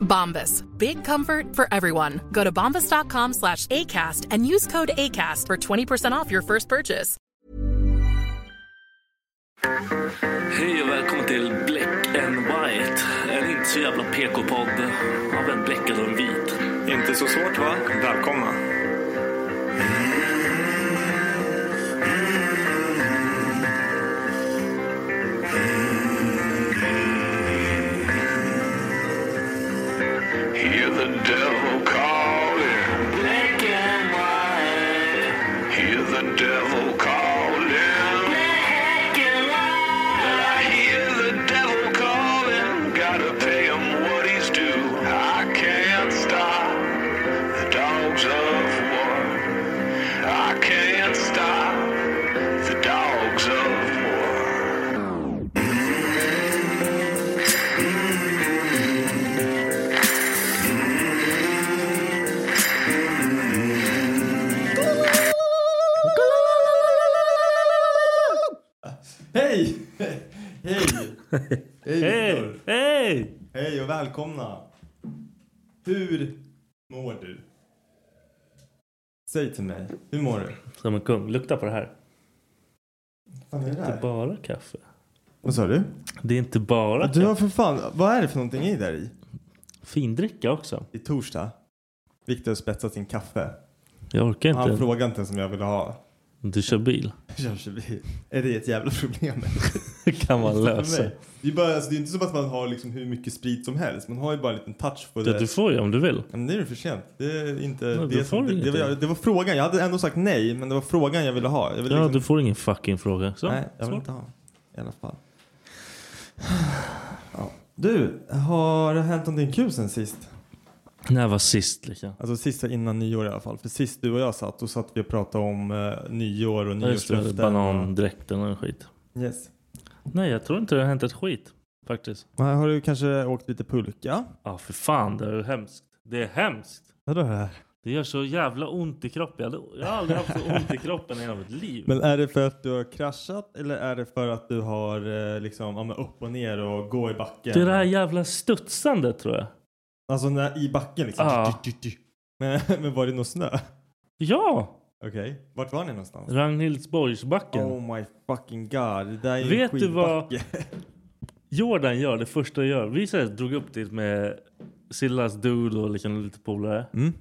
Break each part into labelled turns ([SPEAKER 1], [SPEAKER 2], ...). [SPEAKER 1] Bombas. Big comfort for everyone. Go to bombas.com slash ACAST and use code ACAST for 20% off your first purchase.
[SPEAKER 2] Hej och välkommen till Black and White. En inte så jävla PK-podd av en bläckad och en vit.
[SPEAKER 3] Inte så svårt va? Välkomna.
[SPEAKER 4] Hear the devil calling. Black and white. Hear the devil calling. Black and white. I hear the devil calling. Gotta pay him what he's due. I can't stop the dogs of war. I can't stop the dogs of war.
[SPEAKER 3] Hej! Hej! Hej!
[SPEAKER 2] Hej!
[SPEAKER 3] Viktor.
[SPEAKER 2] Hej!
[SPEAKER 3] Hej och välkomna! Hur mår du? Säg till mig, hur mår du?
[SPEAKER 2] Som en kung. Lukta på det här.
[SPEAKER 3] Vad är det
[SPEAKER 2] Det är
[SPEAKER 3] där?
[SPEAKER 2] bara kaffe.
[SPEAKER 3] Vad sa du?
[SPEAKER 2] Det är inte bara
[SPEAKER 3] Du har
[SPEAKER 2] kaffe.
[SPEAKER 3] för fan, vad är det för någonting i där i?
[SPEAKER 2] Findricka också.
[SPEAKER 3] I torsdag? Viktor har spetsat sin kaffe.
[SPEAKER 2] Jag orkar
[SPEAKER 3] Han
[SPEAKER 2] inte.
[SPEAKER 3] frågade inte ens om jag ville ha.
[SPEAKER 2] Du kör bil.
[SPEAKER 3] Kör så vi- Är det ett jävla problem?
[SPEAKER 2] Det kan man
[SPEAKER 3] För
[SPEAKER 2] lösa.
[SPEAKER 3] mig. Det är, bara, alltså, det är inte som att man har liksom hur mycket sprit som helst. Man har ju bara en liten touch på
[SPEAKER 2] Det
[SPEAKER 3] det.
[SPEAKER 2] du får ju om du vill.
[SPEAKER 3] Ja, Men det är ju för sent. Det är inte...
[SPEAKER 2] Nej,
[SPEAKER 3] det,
[SPEAKER 2] du får
[SPEAKER 3] som, det, det,
[SPEAKER 2] ingenting.
[SPEAKER 3] var, det var frågan. Jag hade ändå sagt nej, men det var frågan jag ville ha. Jag ville
[SPEAKER 2] Ja,
[SPEAKER 3] liksom-
[SPEAKER 2] du får ingen fucking fråga. Så,
[SPEAKER 3] Nej, jag vill
[SPEAKER 2] svar.
[SPEAKER 3] inte ha. I alla fall. Ja. Du, har det hänt någonting kul sen sist?
[SPEAKER 2] När var sist liksom?
[SPEAKER 3] Alltså sist innan nyår i alla fall. För sist du och jag satt, då satt vi och pratade om eh, nyår och
[SPEAKER 2] Ja, Just det,
[SPEAKER 3] nyårslöften.
[SPEAKER 2] banandräkten och skit.
[SPEAKER 3] Yes.
[SPEAKER 2] Nej, jag tror inte det har hänt ett skit. Faktiskt.
[SPEAKER 3] Men Har du kanske åkt lite pulka?
[SPEAKER 2] Ja, ah, för fan. Det är hemskt. Det är hemskt.
[SPEAKER 3] Vadå det här?
[SPEAKER 2] Det gör så jävla ont i kroppen. Jag hade- Jag har aldrig haft så ont i kroppen i hela mitt liv.
[SPEAKER 3] Men är det för att du har kraschat eller är det för att du har eh, liksom, ja, men upp och ner och gå i backen?
[SPEAKER 2] det är det här jävla studsandet tror jag. Ah.
[SPEAKER 3] Alltså när, i backen liksom.
[SPEAKER 2] Ja.
[SPEAKER 3] Du, du, du, du. Men, men var det någon snö?
[SPEAKER 2] Ja!
[SPEAKER 3] Okej. Vart var ni någonstans?
[SPEAKER 2] Ragnhildsborgsbacken.
[SPEAKER 3] Oh my fucking god. Det där är ju
[SPEAKER 2] Vet
[SPEAKER 3] en
[SPEAKER 2] du vad-
[SPEAKER 3] skidbacke.
[SPEAKER 2] Jordan gör det första jag gör. Vi så här drog upp dit med Sillas dude och liksom lite polare.
[SPEAKER 3] Mm.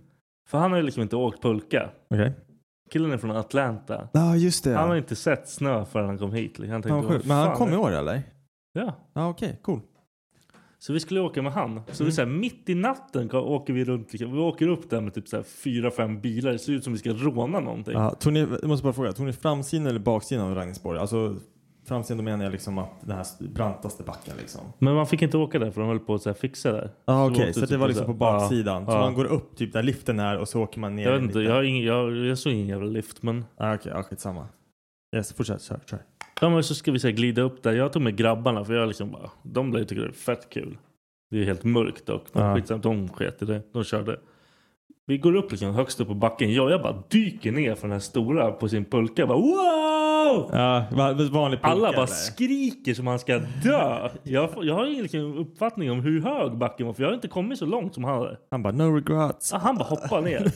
[SPEAKER 2] För han har ju liksom inte åkt pulka.
[SPEAKER 3] Okej. Ah,
[SPEAKER 2] Killen är från Atlanta.
[SPEAKER 3] Ja just det.
[SPEAKER 2] Han har inte sett snö förrän han kom hit. liksom. Han tänkte,
[SPEAKER 3] Fan, vad
[SPEAKER 2] "Vad
[SPEAKER 3] sjukt. Men han
[SPEAKER 2] fan
[SPEAKER 3] kom
[SPEAKER 2] är
[SPEAKER 3] i
[SPEAKER 2] det?"
[SPEAKER 3] år eller?
[SPEAKER 2] Ja.
[SPEAKER 3] Ja okej, cool. Mm.
[SPEAKER 2] Så vi skulle åka med han. Så vi så här, mitt i natten kom- åker vi runt. Liksom, vi åker upp där med typ så här fyra, fem bilar. Det ser ut som vi ska råna någonting.
[SPEAKER 3] Ja, tog ni, jag måste bara fråga, tog ni framsidan eller baksidan av Ragnhildsborg? Alltså
[SPEAKER 5] Framsidan menar jag liksom att den här brantaste backen liksom.
[SPEAKER 2] Men man fick inte åka där för de höll på att så här, fixa där.
[SPEAKER 5] Ja ah, okej,
[SPEAKER 2] åkte
[SPEAKER 5] så att det
[SPEAKER 2] typ
[SPEAKER 5] var liksom
[SPEAKER 2] så
[SPEAKER 5] på
[SPEAKER 2] här-
[SPEAKER 5] baksidan.
[SPEAKER 2] Ja,
[SPEAKER 5] Så
[SPEAKER 2] ja.
[SPEAKER 5] man går upp typ där liften är och så åker man ner.
[SPEAKER 2] Jag vet inte,
[SPEAKER 5] lite.
[SPEAKER 2] jag, har ingen, jag, jag såg ingen jävla lift men...
[SPEAKER 5] Ah, okej, okay, skitsamma. Yes, fortsätt. Kör, kör.
[SPEAKER 2] Ja men så ska vi så här, glida upp där. Jag tog med grabbarna för jag liksom bara, de lär ju tycka det är fett kul. Det är helt mörkt dock. Men
[SPEAKER 5] Ja.
[SPEAKER 2] skitsamt, de sket i det. De körde. Vi går upp liksom högst upp på backen. Jag, jag bara dyker ner från den här stora på sin pulka. Jag bara wow!
[SPEAKER 5] Ja, va- vanlig pulka,
[SPEAKER 2] Alla bara
[SPEAKER 5] eller?
[SPEAKER 2] skriker som man ska dö. Jag, får- jag har ingen liksom, uppfattning om hur hög backen var för jag har inte kommit så långt som han hade.
[SPEAKER 5] Han bara no regrets.
[SPEAKER 2] Ah, han bara hoppar ner.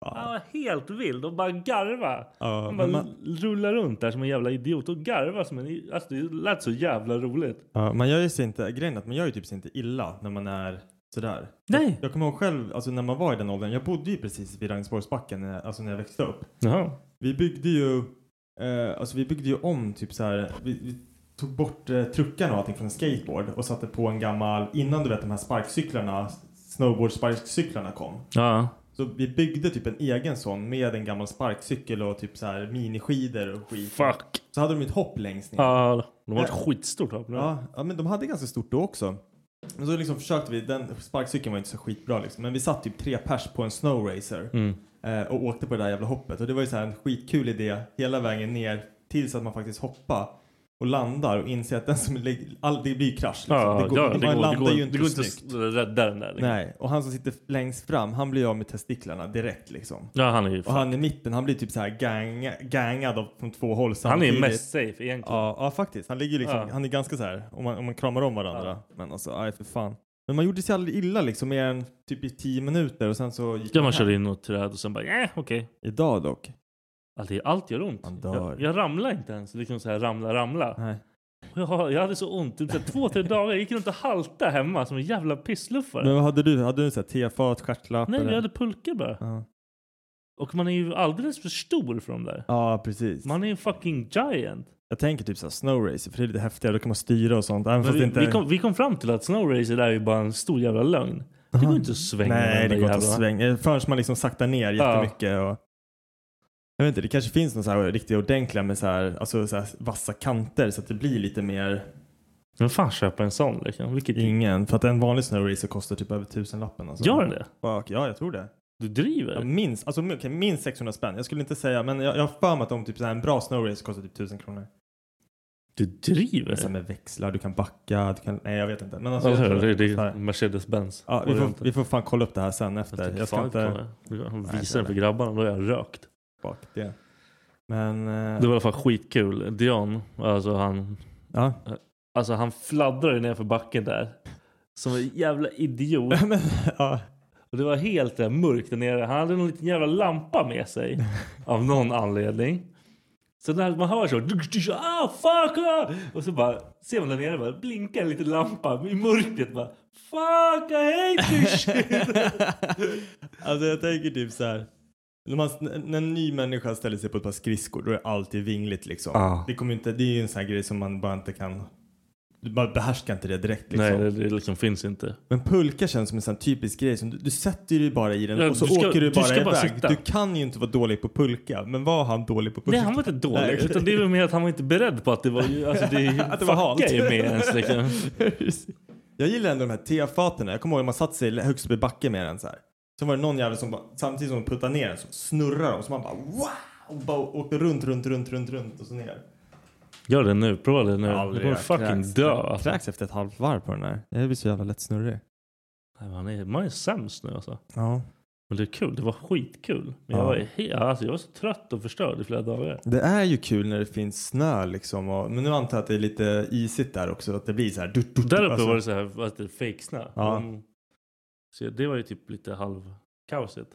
[SPEAKER 2] Han var helt vild och bara garva.
[SPEAKER 5] Ja,
[SPEAKER 2] han bara
[SPEAKER 5] men man,
[SPEAKER 2] rullar runt där som en jävla idiot och garva som en... Alltså det lät så jävla roligt.
[SPEAKER 5] ja, man gör ju sig inte, grejen är att man gör ju typ sig inte illa när man är sådär.
[SPEAKER 2] Nej.
[SPEAKER 5] Jag kommer ihåg själv, alltså när man var i den åldern, jag bodde ju precis vid Ragnesborgsbacken, när- alltså när jag växte upp.
[SPEAKER 2] Jaha.
[SPEAKER 5] Vi byggde ju, eh, alltså vi byggde ju om typ så här. Vi, vi tog bort eh, truckarna och allting från en skateboard och satte på en gammal, innan du vet de här sparkcyklarna, snowboard-sparkcyklarna kom.
[SPEAKER 2] Ja.
[SPEAKER 5] Så vi byggde typ en egen sån med en gammal sparkcykel och typ så här miniskidor och skit.
[SPEAKER 2] Fuck.
[SPEAKER 5] Så hade de ett hopp längst ner.
[SPEAKER 2] Ja, de var ett
[SPEAKER 5] Ja.
[SPEAKER 2] skitstort hopp.
[SPEAKER 5] Ja, ja, men de hade ganska stort då också. Men så liksom försökte vi, den sparkcykeln var inte så skitbra liksom, men vi satt typ tre pers på en snowracer
[SPEAKER 2] Mm.
[SPEAKER 5] eh, och åkte på det där jävla hoppet och det var ju så här en skitkul idé hela vägen ner tills att man faktiskt hoppar och landar och inser att den som ligger, all, det blir ju krasch liksom.
[SPEAKER 2] Ja,
[SPEAKER 5] det går,
[SPEAKER 2] ja,
[SPEAKER 5] man
[SPEAKER 2] det går,
[SPEAKER 5] landar
[SPEAKER 2] det går,
[SPEAKER 5] ju inte
[SPEAKER 2] det går inte
[SPEAKER 5] snyggt.
[SPEAKER 2] att rädda den där. Liksom.
[SPEAKER 5] Nej, och han som sitter längst fram, han blir av med testiklarna direkt liksom.
[SPEAKER 2] Ja, han är ju
[SPEAKER 5] Och han i mitten, han blir typ så här gang, gangad av, från två håll
[SPEAKER 2] han är
[SPEAKER 5] samtidigt.
[SPEAKER 2] ju mest safe egentligen.
[SPEAKER 5] Ja, ja faktiskt. Han ligger liksom,
[SPEAKER 2] Ja.
[SPEAKER 5] han är ganska så här, om man, om man kramar om varandra. Men alltså, aj för fan. Men man gjorde sig aldrig illa liksom mer än typ i tio minuter och sen så gick
[SPEAKER 2] Ja.
[SPEAKER 5] man
[SPEAKER 2] Man
[SPEAKER 5] hem.
[SPEAKER 2] körde in något träd och sen bara, eh, okej.
[SPEAKER 5] Idag dock.
[SPEAKER 2] Allt, allt gör ont.
[SPEAKER 5] Man dör.
[SPEAKER 2] Jag, jag ramlar inte ens. Liksom så här ramla, ramla.
[SPEAKER 5] Nej.
[SPEAKER 2] Jag, jag hade så ont. Typ så här, två, tre dagar. Jag gick runt och halta hemma som en jävla pissluffare.
[SPEAKER 5] Men vad hade du? Hade du så här tefat, stjärtlapp?
[SPEAKER 2] Nej,
[SPEAKER 5] eller?
[SPEAKER 2] jag hade pulka bara.
[SPEAKER 5] Ja.
[SPEAKER 2] Och man är ju alldeles för stor för de där.
[SPEAKER 5] Ja, precis.
[SPEAKER 2] Man är en fucking giant.
[SPEAKER 5] Jag tänker typ så här snowracer, för det är lite häftigare. Då kan man styra och sånt. Även
[SPEAKER 2] Men
[SPEAKER 5] fast
[SPEAKER 2] vi,
[SPEAKER 5] det inte...
[SPEAKER 2] vi, kom, vi kom fram till att Snow Racer är ju bara en stor jävla lögn. Det går
[SPEAKER 5] Aha.
[SPEAKER 2] inte att svänga
[SPEAKER 5] Nej,
[SPEAKER 2] den
[SPEAKER 5] det
[SPEAKER 2] där
[SPEAKER 5] går inte att
[SPEAKER 2] jävla-
[SPEAKER 5] svänga. Eh, Förrän man liksom saktar ner
[SPEAKER 2] Ja.
[SPEAKER 5] jättemycket. Och... Jag vet inte, det kanske finns några så här riktigt ordentliga med så här, alltså så här vassa kanter så att det blir lite mer
[SPEAKER 2] Men fan köper en sån liksom? Vilket...
[SPEAKER 5] Ingen, för att en vanlig snowracer kostar typ över tusenlappen. Alltså.
[SPEAKER 2] Gör den det?
[SPEAKER 5] Fuck, ja, jag tror det.
[SPEAKER 2] Du driver?
[SPEAKER 5] Jag minns, alltså, okej, minst 600 spänn. Jag skulle inte säga, men jag jag har för mig att de, typ, så här, en bra snowracer kostar typ 1000 kronor.
[SPEAKER 2] Du
[SPEAKER 5] Men sen
[SPEAKER 2] driver?
[SPEAKER 5] med växlar, du kan backa, du kan... Nej, jag vet inte. Men alltså, jag
[SPEAKER 2] Alltså,
[SPEAKER 5] tror
[SPEAKER 2] det är- det
[SPEAKER 5] Så
[SPEAKER 2] är
[SPEAKER 5] här.
[SPEAKER 2] Mercedes-Benz.
[SPEAKER 5] Ja, vi, får, vi får fan kolla upp det här sen
[SPEAKER 2] Jag
[SPEAKER 5] efter.
[SPEAKER 2] tycker
[SPEAKER 5] Jag ska
[SPEAKER 2] fan
[SPEAKER 5] inte
[SPEAKER 2] kolla. Han
[SPEAKER 5] Nej,
[SPEAKER 2] visar den
[SPEAKER 5] det-
[SPEAKER 2] för grabbarna och då är jag rökt.
[SPEAKER 5] bak det. Men... eh,
[SPEAKER 2] Det var i alla fall skitkul. Dion, alltså han,
[SPEAKER 5] Ja.
[SPEAKER 2] alltså han fladdrade ner för backen där. Som en jävla idiot.
[SPEAKER 5] men, ja.
[SPEAKER 2] Och det var helt där, mörkt där nere. Han hade någon liten jävla lampa med sig. av någon anledning. Så när man hör så... Ah, fuck! ah!" Och så bara ser man där nere bara blinkar en liten lampa i mörkret. Bara, fuck, I hate this shit!
[SPEAKER 5] alltså jag tänker typ så här. När, man, när en ny människa ställer sig på ett par skridskor då är det alltid vingligt liksom.
[SPEAKER 2] Ja.
[SPEAKER 5] Det, kommer ju inte, det är ju en sån här grej som man bara inte kan... Du bara behärskar inte det direkt liksom.
[SPEAKER 2] Nej, det, det liksom finns inte.
[SPEAKER 5] Men pulka känns som en sån här typisk grej som du, du sätter dig bara i den
[SPEAKER 2] Ja,
[SPEAKER 5] och så
[SPEAKER 2] du ska-
[SPEAKER 5] åker du
[SPEAKER 2] du
[SPEAKER 5] bara
[SPEAKER 2] ska
[SPEAKER 5] iväg.
[SPEAKER 2] bara sitta.
[SPEAKER 5] du kan ju inte vara dålig på pulka. Men var han dålig på pulka?
[SPEAKER 2] Nej, han var inte dålig.
[SPEAKER 5] Nej, okej.
[SPEAKER 2] Utan det är väl mer att han var inte beredd på att det var... ju- Alltså det,
[SPEAKER 5] Att det var halt.
[SPEAKER 2] fuckar ju med ens liksom.
[SPEAKER 5] Jag gillar ändå de här tefaterna. Jag kommer ihåg när man satt sig högst upp i backen med den så här. Sen var det någon jävel som bara, samtidigt som man puttade ner den så snurrar de så man bara wow! Och bara åkte runt, runt, runt, runt, runt och så ner.
[SPEAKER 2] Gör det nu. Prova det nu. Du kommer fucking dö.
[SPEAKER 5] Jag
[SPEAKER 2] Alltså.
[SPEAKER 5] kräks efter ett halvt varv på den här. Jag blir så jävla lätt snurrig.
[SPEAKER 2] Nej, Man är, man är sämst nu alltså.
[SPEAKER 5] Ja.
[SPEAKER 2] Men det är kul. Det var skitkul. Men jag,
[SPEAKER 5] Ja.
[SPEAKER 2] var he- alltså, jag var så trött och förstörd i flera dagar.
[SPEAKER 5] Det är ju kul när det finns snö liksom. Och, men nu antar jag att det är lite isigt där också. Att det blir så här. Dut, dut,
[SPEAKER 2] Där uppe
[SPEAKER 5] alltså.
[SPEAKER 2] var det så här att det är fejksnö.
[SPEAKER 5] Ja.
[SPEAKER 2] Mm. Så det var ju typ lite halvkaosigt.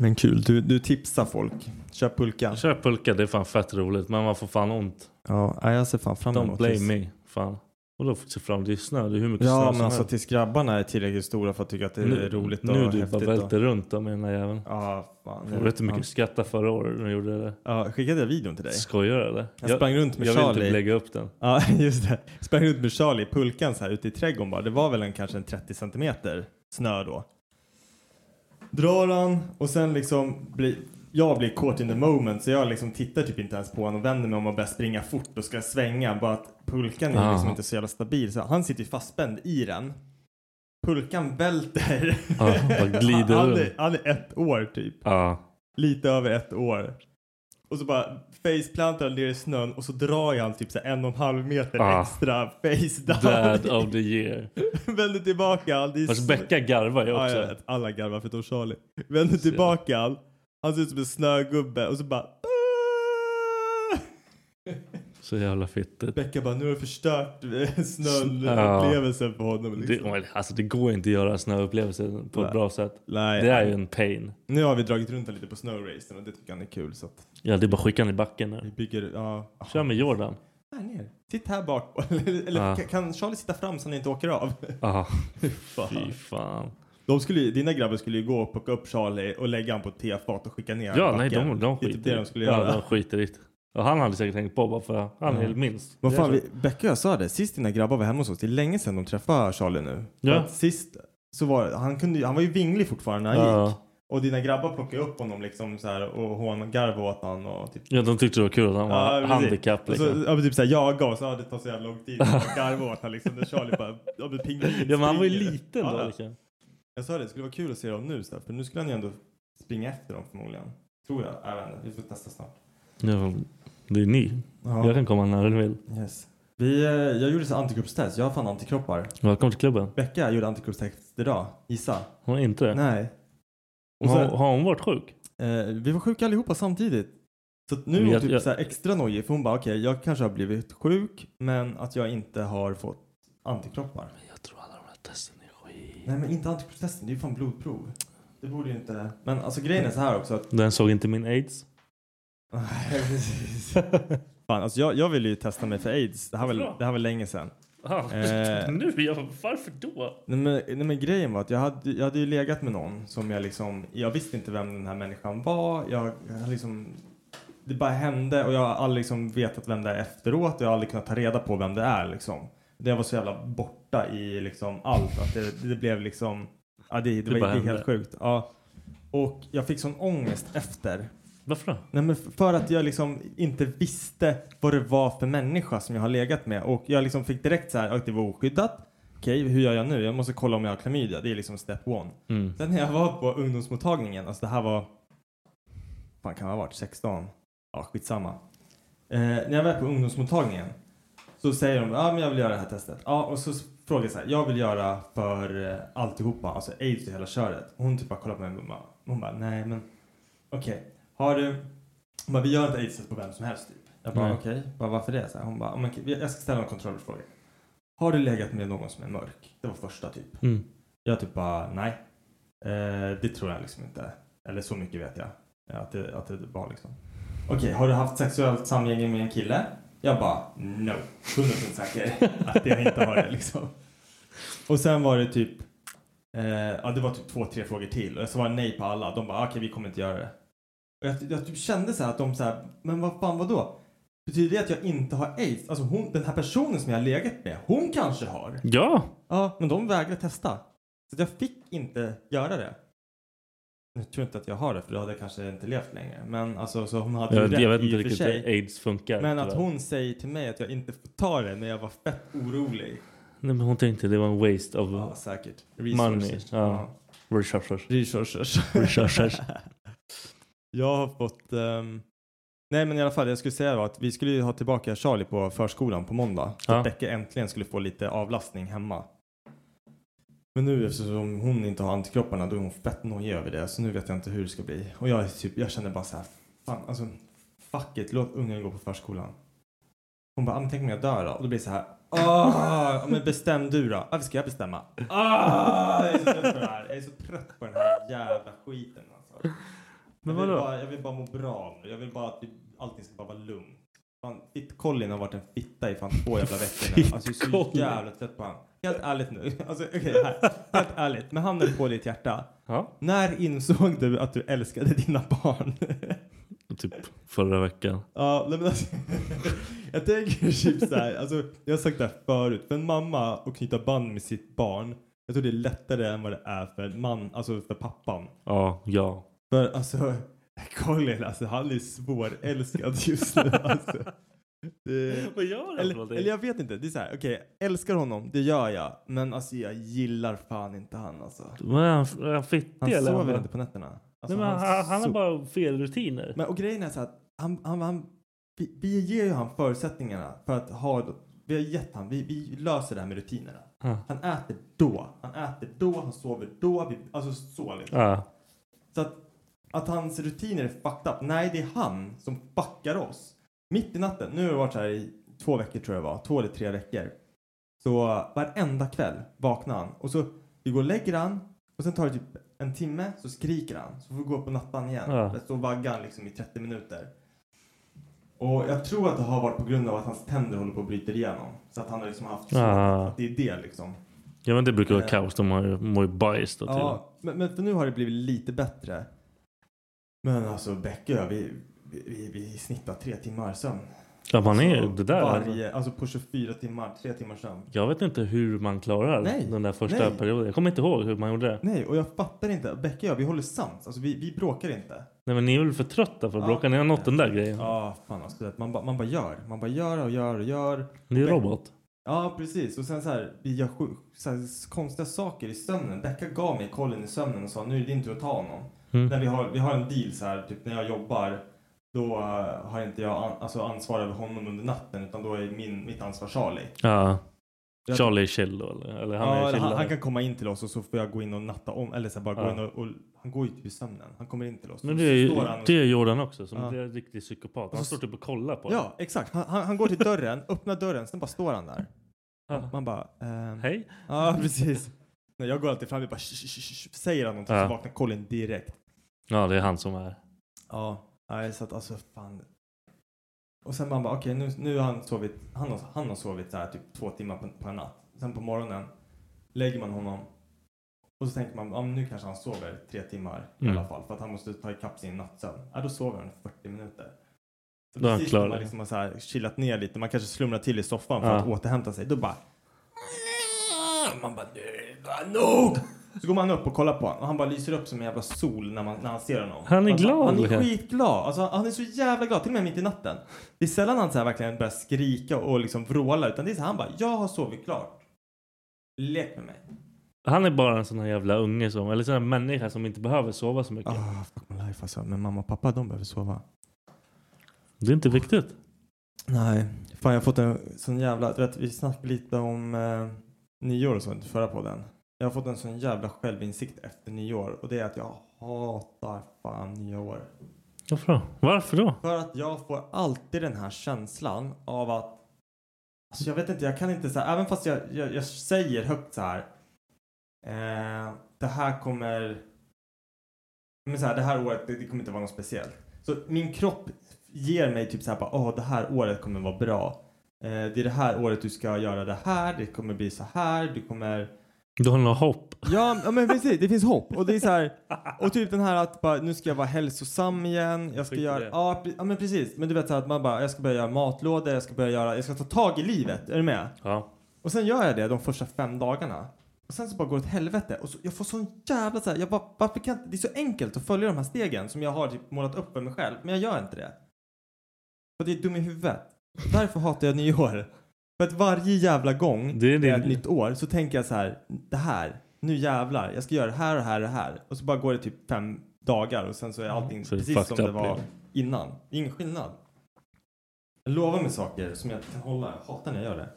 [SPEAKER 5] Men kul, du, du tipsar folk. Kör pulka.
[SPEAKER 2] Kör pulka, det är fan fett roligt. Men man får fan ont.
[SPEAKER 5] Ja, nej, jag ser fan fram
[SPEAKER 2] Don't
[SPEAKER 5] emot
[SPEAKER 2] blame
[SPEAKER 5] det.
[SPEAKER 2] me. Fan. Och då får fram, det är snö. Det är hur mycket snö
[SPEAKER 5] Ja,
[SPEAKER 2] som
[SPEAKER 5] men alltså
[SPEAKER 2] helst.
[SPEAKER 5] tills grabbarna är tillräckligt stora för att tycka att det är roligt och
[SPEAKER 2] Nu du
[SPEAKER 5] häftigt.
[SPEAKER 2] bara
[SPEAKER 5] och...
[SPEAKER 2] välter runt då med den där jäveln.
[SPEAKER 5] Ja, fan.
[SPEAKER 2] Jag vet hur mycket jag skrattade förra året när jag gjorde det.
[SPEAKER 5] Ja, skickade jag videon till dig?
[SPEAKER 2] Skojar du eller?
[SPEAKER 5] Jag sprang runt med
[SPEAKER 2] jag vill
[SPEAKER 5] Charlie.
[SPEAKER 2] inte lägga upp den.
[SPEAKER 5] Ja, just det. Sprang runt med Charlie i pulkan så här ute i trädgården bara. Det var väl en kanske en 30 centimeter snö då. Drar han och sen liksom blir, jag blir caught in the moment så jag liksom tittar typ inte ens på honom och vänder mig om och börjar springa fort och ska svänga. Bara att pulkan är
[SPEAKER 2] Ah.
[SPEAKER 5] liksom inte så jävla stabil så han sitter ju fastspänd i den. Pulkan välter.
[SPEAKER 2] Ja, Ah. bara glider
[SPEAKER 5] han,
[SPEAKER 2] runt. Ah.
[SPEAKER 5] är, han är ett år typ.
[SPEAKER 2] Ja.
[SPEAKER 5] Lite över ett år. Och så bara faceplantar han ner i snön och så drar jag han typ så här en och en halv meter
[SPEAKER 2] Ah.
[SPEAKER 5] extra face down.
[SPEAKER 2] Dad of the year.
[SPEAKER 5] Vänder tillbaka han. Det är
[SPEAKER 2] Fast
[SPEAKER 5] så-
[SPEAKER 2] Becka garvar ju
[SPEAKER 5] Ja, jag
[SPEAKER 2] också.
[SPEAKER 5] vet. Alla garvar förutom Charlie. Vänder tillbaka han. Han ser ut som en snögubbe och så bara...
[SPEAKER 2] Så jävla fittigt.
[SPEAKER 5] Becka bara, nu har du förstört eh,
[SPEAKER 2] Ja.
[SPEAKER 5] snöupplevelsen för honom.
[SPEAKER 2] Det,
[SPEAKER 5] Liksom.
[SPEAKER 2] alltså det går inte att göra snöupplevelser på ett
[SPEAKER 5] Nej.
[SPEAKER 2] bra sätt.
[SPEAKER 5] Nej.
[SPEAKER 2] Det är ju en pain.
[SPEAKER 5] Nu har vi dragit runt lite på snowracen och det tycker han är kul så att
[SPEAKER 2] Ja, det är bara att skicka den i backen nu.
[SPEAKER 5] vi bygger, ja.
[SPEAKER 2] Kör med Jordan.
[SPEAKER 5] Här ner. Sitt här bak. Eller, eller
[SPEAKER 2] Ja.
[SPEAKER 5] kan- kan Charlie sitta fram så han inte åker av?
[SPEAKER 2] Ja, fy
[SPEAKER 5] Fan.
[SPEAKER 2] fan.
[SPEAKER 5] De skulle, ju- dina grabbar skulle ju gå och plocka upp Charlie och lägga han på ett tefat och skicka ner han i
[SPEAKER 2] Ja, nej,
[SPEAKER 5] backen.
[SPEAKER 2] de, de
[SPEAKER 5] Det är
[SPEAKER 2] skiter
[SPEAKER 5] typ det de skulle
[SPEAKER 2] ja,
[SPEAKER 5] göra.
[SPEAKER 2] de skiter i det. Och han hade säkert tänkt på bara för han är minst.
[SPEAKER 5] Vad fan,
[SPEAKER 2] Det är
[SPEAKER 5] vi,
[SPEAKER 2] så.
[SPEAKER 5] Becka och jag sa det, sist dina grabbar var hemma hos oss, det är länge sedan de träffade Charlie nu. För
[SPEAKER 2] Ja.
[SPEAKER 5] att Sist så var han, kunde, ju- han var ju vinglig fortfarande när han gick.
[SPEAKER 2] Ja.
[SPEAKER 5] Och dina grabbar plockade upp honom liksom så här och hångarvade åt honom och typ
[SPEAKER 2] ja, de tyckte det var kul att han var
[SPEAKER 5] precis.
[SPEAKER 2] handikapp.
[SPEAKER 5] Och så-
[SPEAKER 2] Liksom.
[SPEAKER 5] Ja men typ såhär jaga och så ja, det tar så jävla lång tid. Och garva åt honom liksom. När Charlie bara, ja men pingvin
[SPEAKER 2] Ja, men han var ju
[SPEAKER 5] springer.
[SPEAKER 2] liten
[SPEAKER 5] Ja,
[SPEAKER 2] då.
[SPEAKER 5] ja.
[SPEAKER 2] Liksom.
[SPEAKER 5] Jag sa det, det skulle vara kul att se dem nu så här, för nu skulle han ju ändå springa efter dem förmodligen. Tror jag. Jag vet inte, vi får testa snart.
[SPEAKER 2] Ja, det är ni. Jag kan komma när du vill.
[SPEAKER 5] Yes. Vi, eh, jag gjorde så här antikroppstest, jag har fan antikroppar.
[SPEAKER 2] Välkommen till klubben.
[SPEAKER 5] Becka gjorde antikroppstest idag, gissa.
[SPEAKER 2] Hon är inte det.
[SPEAKER 5] Nej. Och
[SPEAKER 2] Har,
[SPEAKER 5] så,
[SPEAKER 2] har hon varit sjuk?
[SPEAKER 5] eh, vi var sjuka allihopa samtidigt. Så att nu är
[SPEAKER 2] Men
[SPEAKER 5] hon
[SPEAKER 2] jag-
[SPEAKER 5] typ
[SPEAKER 2] jag-
[SPEAKER 5] så här extra nojig för hon bara okej jag kanske har blivit sjuk men att jag inte har fått antikroppar.
[SPEAKER 2] Jag tror alla de här testen är skit.
[SPEAKER 5] Nej men inte antikroppstesten, det är ju fan blodprov. Det borde ju inte... Men alltså grejen är så här också att...
[SPEAKER 2] Den såg inte min aids.
[SPEAKER 5] Nej precis. Fan alltså jag, jag ville ju testa mig för aids, det här var, det här var länge sedan.
[SPEAKER 2] Ah,
[SPEAKER 5] Eh.
[SPEAKER 2] Nu? Jag, varför då?
[SPEAKER 5] Nej men, nej men grejen var att jag hade, jag hade ju legat med någon som jag liksom, jag visste inte vem den här människan var. Jag, jag liksom, det bara hände och jag har aldrig liksom vetat vem det är efteråt och jag har aldrig kunnat ta reda på vem det är liksom. Det var så jävla borta i liksom allt att det, det blev liksom, ja det, det,
[SPEAKER 2] Det
[SPEAKER 5] var, det
[SPEAKER 2] bara
[SPEAKER 5] är
[SPEAKER 2] hände.
[SPEAKER 5] helt sjukt. Ja. Och jag fick sån ångest efter.
[SPEAKER 2] Varför då?
[SPEAKER 5] Nej men f- för att jag liksom inte visste vad det var för människa som jag har legat med och jag liksom fick direkt så här att det var oskyddat. Okej, hur gör jag nu? Jag måste kolla om jag har klamydia. Det är liksom step one.
[SPEAKER 2] Mm.
[SPEAKER 5] Sen när jag var på ungdomsmottagningen, alltså det här var, fan kan det ha varit 16? Ja, skitsamma. Eh, när jag var på ungdomsmottagningen så säger de, ja men jag vill göra det här testet. Ja, och så frågar jag så här, jag vill göra för eh, alltihopa, alltså aids och hela köret. Och hon typ bara kollar på mig och bara, hon bara, nej men okej, har du, hon bara, vi gör inte aids på vem som helst typ. Jag bara,
[SPEAKER 2] Nej.
[SPEAKER 5] okej, bara, varför det? Så här, hon bara, "Ja, men okej, jag ska ställa en kontrollfråga. Har du legat med någon som är mörk? Det var första typ.
[SPEAKER 2] Mm.
[SPEAKER 5] Jag typ bara, nej. Eh, det tror jag liksom inte. Eller så mycket vet jag. eh, Att det, att det var liksom. Okej, har du haft sexuellt samgänge med en kille? Jag bara, no. 100% säker att jag inte har det liksom. Och sen var det typ, eh, ja det var typ två, tre frågor till. Och jag svarade nej på alla. De bara, okej vi kommer inte göra det. Och jag, jag typ kände så här att de så här, men vad fan vadå? Betyder det att jag inte har aids? Alltså hon, den här personen som jag har legat med, hon kanske har.
[SPEAKER 2] Ja!
[SPEAKER 5] Ja, men de vägrade testa. Så att jag fick inte göra det. Nu tror jag inte att jag har det för då hade jag kanske inte levt längre. Men alltså så hon hade ju
[SPEAKER 2] Jag,
[SPEAKER 5] rätt
[SPEAKER 2] jag vet
[SPEAKER 5] i
[SPEAKER 2] inte
[SPEAKER 5] och för
[SPEAKER 2] riktigt hur
[SPEAKER 5] sig.
[SPEAKER 2] aids funkar.
[SPEAKER 5] Men att
[SPEAKER 2] tyvärr.
[SPEAKER 5] hon säger till mig att jag inte får ta det när jag var fett orolig.
[SPEAKER 2] Nej, men hon tänkte det var en waste of
[SPEAKER 5] Ja, säkert.
[SPEAKER 2] Money, ja. resources.
[SPEAKER 5] Resources.
[SPEAKER 2] Resources.
[SPEAKER 5] jag har fått... ehm, Nej men i alla fall, jag skulle säga då att vi skulle ju ha tillbaka Charlie på förskolan på måndag. Så
[SPEAKER 2] Ja.
[SPEAKER 5] att Becka äntligen skulle få lite avlastning hemma. Men nu eftersom hon inte har antikropparna då är hon fett nojig över det. Så nu vet jag inte hur det ska bli. Och jag, är typ, jag känner bara så här, fan alltså fuck it, låt ungen gå på förskolan. Hon bara, "Ah, men tänk om jag dör då? Och då blir det så här, ah, men bestäm du då. Varför ska jag bestämma? Ah, jag är så trött på det här. Jag är så trött på den här jävla skiten alltså.
[SPEAKER 2] Men
[SPEAKER 5] jag, vill
[SPEAKER 2] vadå?
[SPEAKER 5] bara, jag vill bara må bra nu. Jag vill bara att vi- allting ska bara vara lugnt. Fan, Fitt-Collin har varit en fitta i fan två jävla veckor nu. Alltså jag är så
[SPEAKER 2] Fitt-Collin.
[SPEAKER 5] jävla trött på honom. Helt ärligt nu. Alltså okej, här. helt ärligt. Med handen på ditt hjärta.
[SPEAKER 2] Ja.
[SPEAKER 5] När insåg du att du älskade dina barn?
[SPEAKER 2] Typ förra veckan.
[SPEAKER 5] Ja, nej men alltså, jag tänker typ så här, alltså, jag har sagt det här förut, för en mamma att knyta band med sitt barn, jag tror det är lättare än vad det är för en man, alltså för pappan.
[SPEAKER 2] Ja, ja.
[SPEAKER 5] För alltså, Colin, alltså han är svårälskad just nu. Alltså. Det...
[SPEAKER 2] Vad gör han för
[SPEAKER 5] Eller,
[SPEAKER 2] någonting?
[SPEAKER 5] eller jag vet inte, det är så här, okej, älskar honom, det gör jag, men alltså jag gillar fan inte han alltså.
[SPEAKER 2] Men är han, är han fittig
[SPEAKER 5] Han
[SPEAKER 2] eller?
[SPEAKER 5] sover inte på nätterna. Alltså,
[SPEAKER 2] Nej, men han, han har
[SPEAKER 5] so-
[SPEAKER 2] bara fel rutiner.
[SPEAKER 5] Men och grejen är så att han, han, han, vi, vi ger ju han förutsättningarna för att ha, vi har gett han, vi, vi löser det här med rutinerna.
[SPEAKER 2] Ja.
[SPEAKER 5] Han äter då, han äter då, han sover då, vi, alltså så liksom.
[SPEAKER 2] Ja.
[SPEAKER 5] Så att, att hans rutiner är fucked up. Nej, det är han som fuckar oss. Mitt i natten, nu har det varit så här i två veckor tror jag det var, två eller tre veckor. Så varenda kväll vaknar han och så vi går och lägger han och sen tar det typ en timme så skriker han. Så får vi gå upp på nattan igen.
[SPEAKER 2] Ja.
[SPEAKER 5] Där står vaggan liksom i 30 minuter. Och jag tror att det har varit på grund av att hans tänder håller på att bryta igenom. Så att han har liksom haft så
[SPEAKER 2] Ja.
[SPEAKER 5] att det är det liksom.
[SPEAKER 2] ja men det brukar vara
[SPEAKER 5] Eh.
[SPEAKER 2] kaos. De har ju- mår ju bajs då typ. till.
[SPEAKER 5] Ja, men, men för nu har det blivit lite bättre. Men alltså Becky och jag, vi, vi, vi, vi snittar tre timmar sömn.
[SPEAKER 2] Ja man är ju
[SPEAKER 5] Så
[SPEAKER 2] det där. Alltså.
[SPEAKER 5] Varje, alltså på 24 timmar, tre timmars sömn.
[SPEAKER 2] Jag vet inte hur man klarar
[SPEAKER 5] Nej,
[SPEAKER 2] den där första
[SPEAKER 5] nej.
[SPEAKER 2] perioden. Jag kommer inte ihåg hur man gjorde det.
[SPEAKER 5] Nej, och jag fattar inte. Becky och jag, vi håller sams. Alltså vi, vi bråkar inte.
[SPEAKER 2] Nej men ni är väl för trötta för att
[SPEAKER 5] Ja.
[SPEAKER 2] bråka? Ni har nått den där grejen.
[SPEAKER 5] Ja, fan alltså. du vet, Man, bara- man bara gör. Man bara gör och gör och gör.
[SPEAKER 2] Ni är
[SPEAKER 5] Beck-
[SPEAKER 2] robot.
[SPEAKER 5] Ja, precis. Och sen så här, vi gör sjuk, så här, konstiga saker i sömnen. Becka gav mig kollen i sömnen och sa nu är det din tur att ta honom.
[SPEAKER 2] Mm.
[SPEAKER 5] När vi, har, vi har en deal så här, typ när jag jobbar då eh, har inte jag an, alltså ansvar över honom under natten utan då är min, mitt ansvar Charlie.
[SPEAKER 2] Ja.
[SPEAKER 5] Jag-
[SPEAKER 2] Charlie är chill då eller? eller han
[SPEAKER 5] ja,
[SPEAKER 2] är
[SPEAKER 5] eller
[SPEAKER 2] chill.
[SPEAKER 5] han, han kan komma in till oss och så får jag gå in och natta om. Eller så här, bara
[SPEAKER 2] Ja.
[SPEAKER 5] gå in och, och han går ju till sömnen. Han kommer in till oss.
[SPEAKER 2] Men
[SPEAKER 5] Och
[SPEAKER 2] det
[SPEAKER 5] så
[SPEAKER 2] är ju
[SPEAKER 5] står han och-
[SPEAKER 2] det gör Jordan också. Som
[SPEAKER 5] Ja.
[SPEAKER 2] det är en riktig psykopat. Han
[SPEAKER 5] Och
[SPEAKER 2] står
[SPEAKER 5] så-
[SPEAKER 2] typ och kollar på
[SPEAKER 5] Ja, exakt. Han, han, han går till dörren, öppnar dörren, sen bara står han där.
[SPEAKER 2] en. Ja.
[SPEAKER 5] Man bara... ehm,
[SPEAKER 2] Hej.
[SPEAKER 5] Ja, precis. Nej, jag går alltid fram och bara "Sh, sh, sh, sh", säger han någonting
[SPEAKER 2] Ja.
[SPEAKER 5] så vaknar Colin direkt.
[SPEAKER 2] Ja det är han som är.
[SPEAKER 5] Ja, nej så att alltså fan. Och sen man bara okej nu, nu har han sovit, han har, han har sovit så här typ två timmar på, på en natt. Sen på morgonen lägger man honom och så tänker man ja, men nu kanske han sover tre timmar i
[SPEAKER 2] Mm.
[SPEAKER 5] alla fall för att han måste ta ikapp sin nattsömn. Ja, då sover han i 40 minuter. Så
[SPEAKER 2] Då är han
[SPEAKER 5] precis
[SPEAKER 2] klar,
[SPEAKER 5] när man
[SPEAKER 2] eller?
[SPEAKER 5] liksom har så här chillat ner lite, man kanske slumrar till i soffan för
[SPEAKER 2] Ja.
[SPEAKER 5] att återhämta sig. Då bara man bara nu, är det bara nog! Så går man upp och kollar på honom och han bara lyser upp som en jävla sol när, man, när han ser honom.
[SPEAKER 2] Han är
[SPEAKER 5] alltså,
[SPEAKER 2] glad,
[SPEAKER 5] Han är
[SPEAKER 2] Lukas.
[SPEAKER 5] skitglad. Alltså, han är så jävla glad, till och med mitt i natten. Det är sällan han så här verkligen börjar skrika och liksom vråla utan det är så här, han bara jag har sovit klart. Lek med mig.
[SPEAKER 2] Han är bara en sån här jävla unge som, eller sån här människa som inte behöver sova så mycket.
[SPEAKER 5] Ah, fuck my life alltså. Men mamma och pappa de behöver sova.
[SPEAKER 2] Det är inte viktigt.
[SPEAKER 5] Nej. Fan jag har fått en sån jävla, du vet vi snackade lite om eh, nyår och sånt i förra podden. Jag har fått en sån jävla självinsikt efter nyår och det är att jag hatar fan nyår.
[SPEAKER 2] Varför då? Varför då?
[SPEAKER 5] För att jag får alltid den här känslan av att Alltså jag vet inte, jag kan inte så här, även fast jag, jag, jag säger högt så här eh, Det här kommer men så här, Det här året, det, det kommer inte vara något speciellt Så min kropp ger mig typ så här bara, åh det här året kommer vara bra eh, Det är det här året du ska göra det här, det kommer bli så här, du kommer
[SPEAKER 2] Du har något hopp.
[SPEAKER 5] Ja, ja men precis, det finns hopp. Och det är så här, och typ den här att bara, nu ska jag vara hälsosam igen. Jag ska
[SPEAKER 2] Skit i
[SPEAKER 5] göra,
[SPEAKER 2] det.
[SPEAKER 5] ja, pre- ja men precis. Men du vet så här att man bara, jag ska börja göra matlådor, jag ska börja göra, jag ska ta tag i livet. Är du med?
[SPEAKER 2] Ja.
[SPEAKER 5] Och sen gör jag det de första fem dagarna. Och sen så bara går det åt helvete. Och så, jag får sån jävla så här, jag bara, varför kan inte, det är så enkelt att följa de här stegen som jag har typ målat upp för mig själv. Men jag gör inte det. För att jag är dum i huvudet. Och därför hatar jag nyår. För att varje jävla gång
[SPEAKER 2] Det är
[SPEAKER 5] det är ett
[SPEAKER 2] din...
[SPEAKER 5] nytt år så tänker jag så här, det här, nu jävlar, jag ska göra det här och det här och det här. Och så bara går det typ fem dagar och sen så är allting
[SPEAKER 2] Mm. Så det är
[SPEAKER 5] precis som
[SPEAKER 2] fucked
[SPEAKER 5] det
[SPEAKER 2] up,
[SPEAKER 5] var
[SPEAKER 2] liksom.
[SPEAKER 5] innan. Det är ingen skillnad. Jag lovar mig saker som jag inte kan hålla. Jag hatar när jag gör det.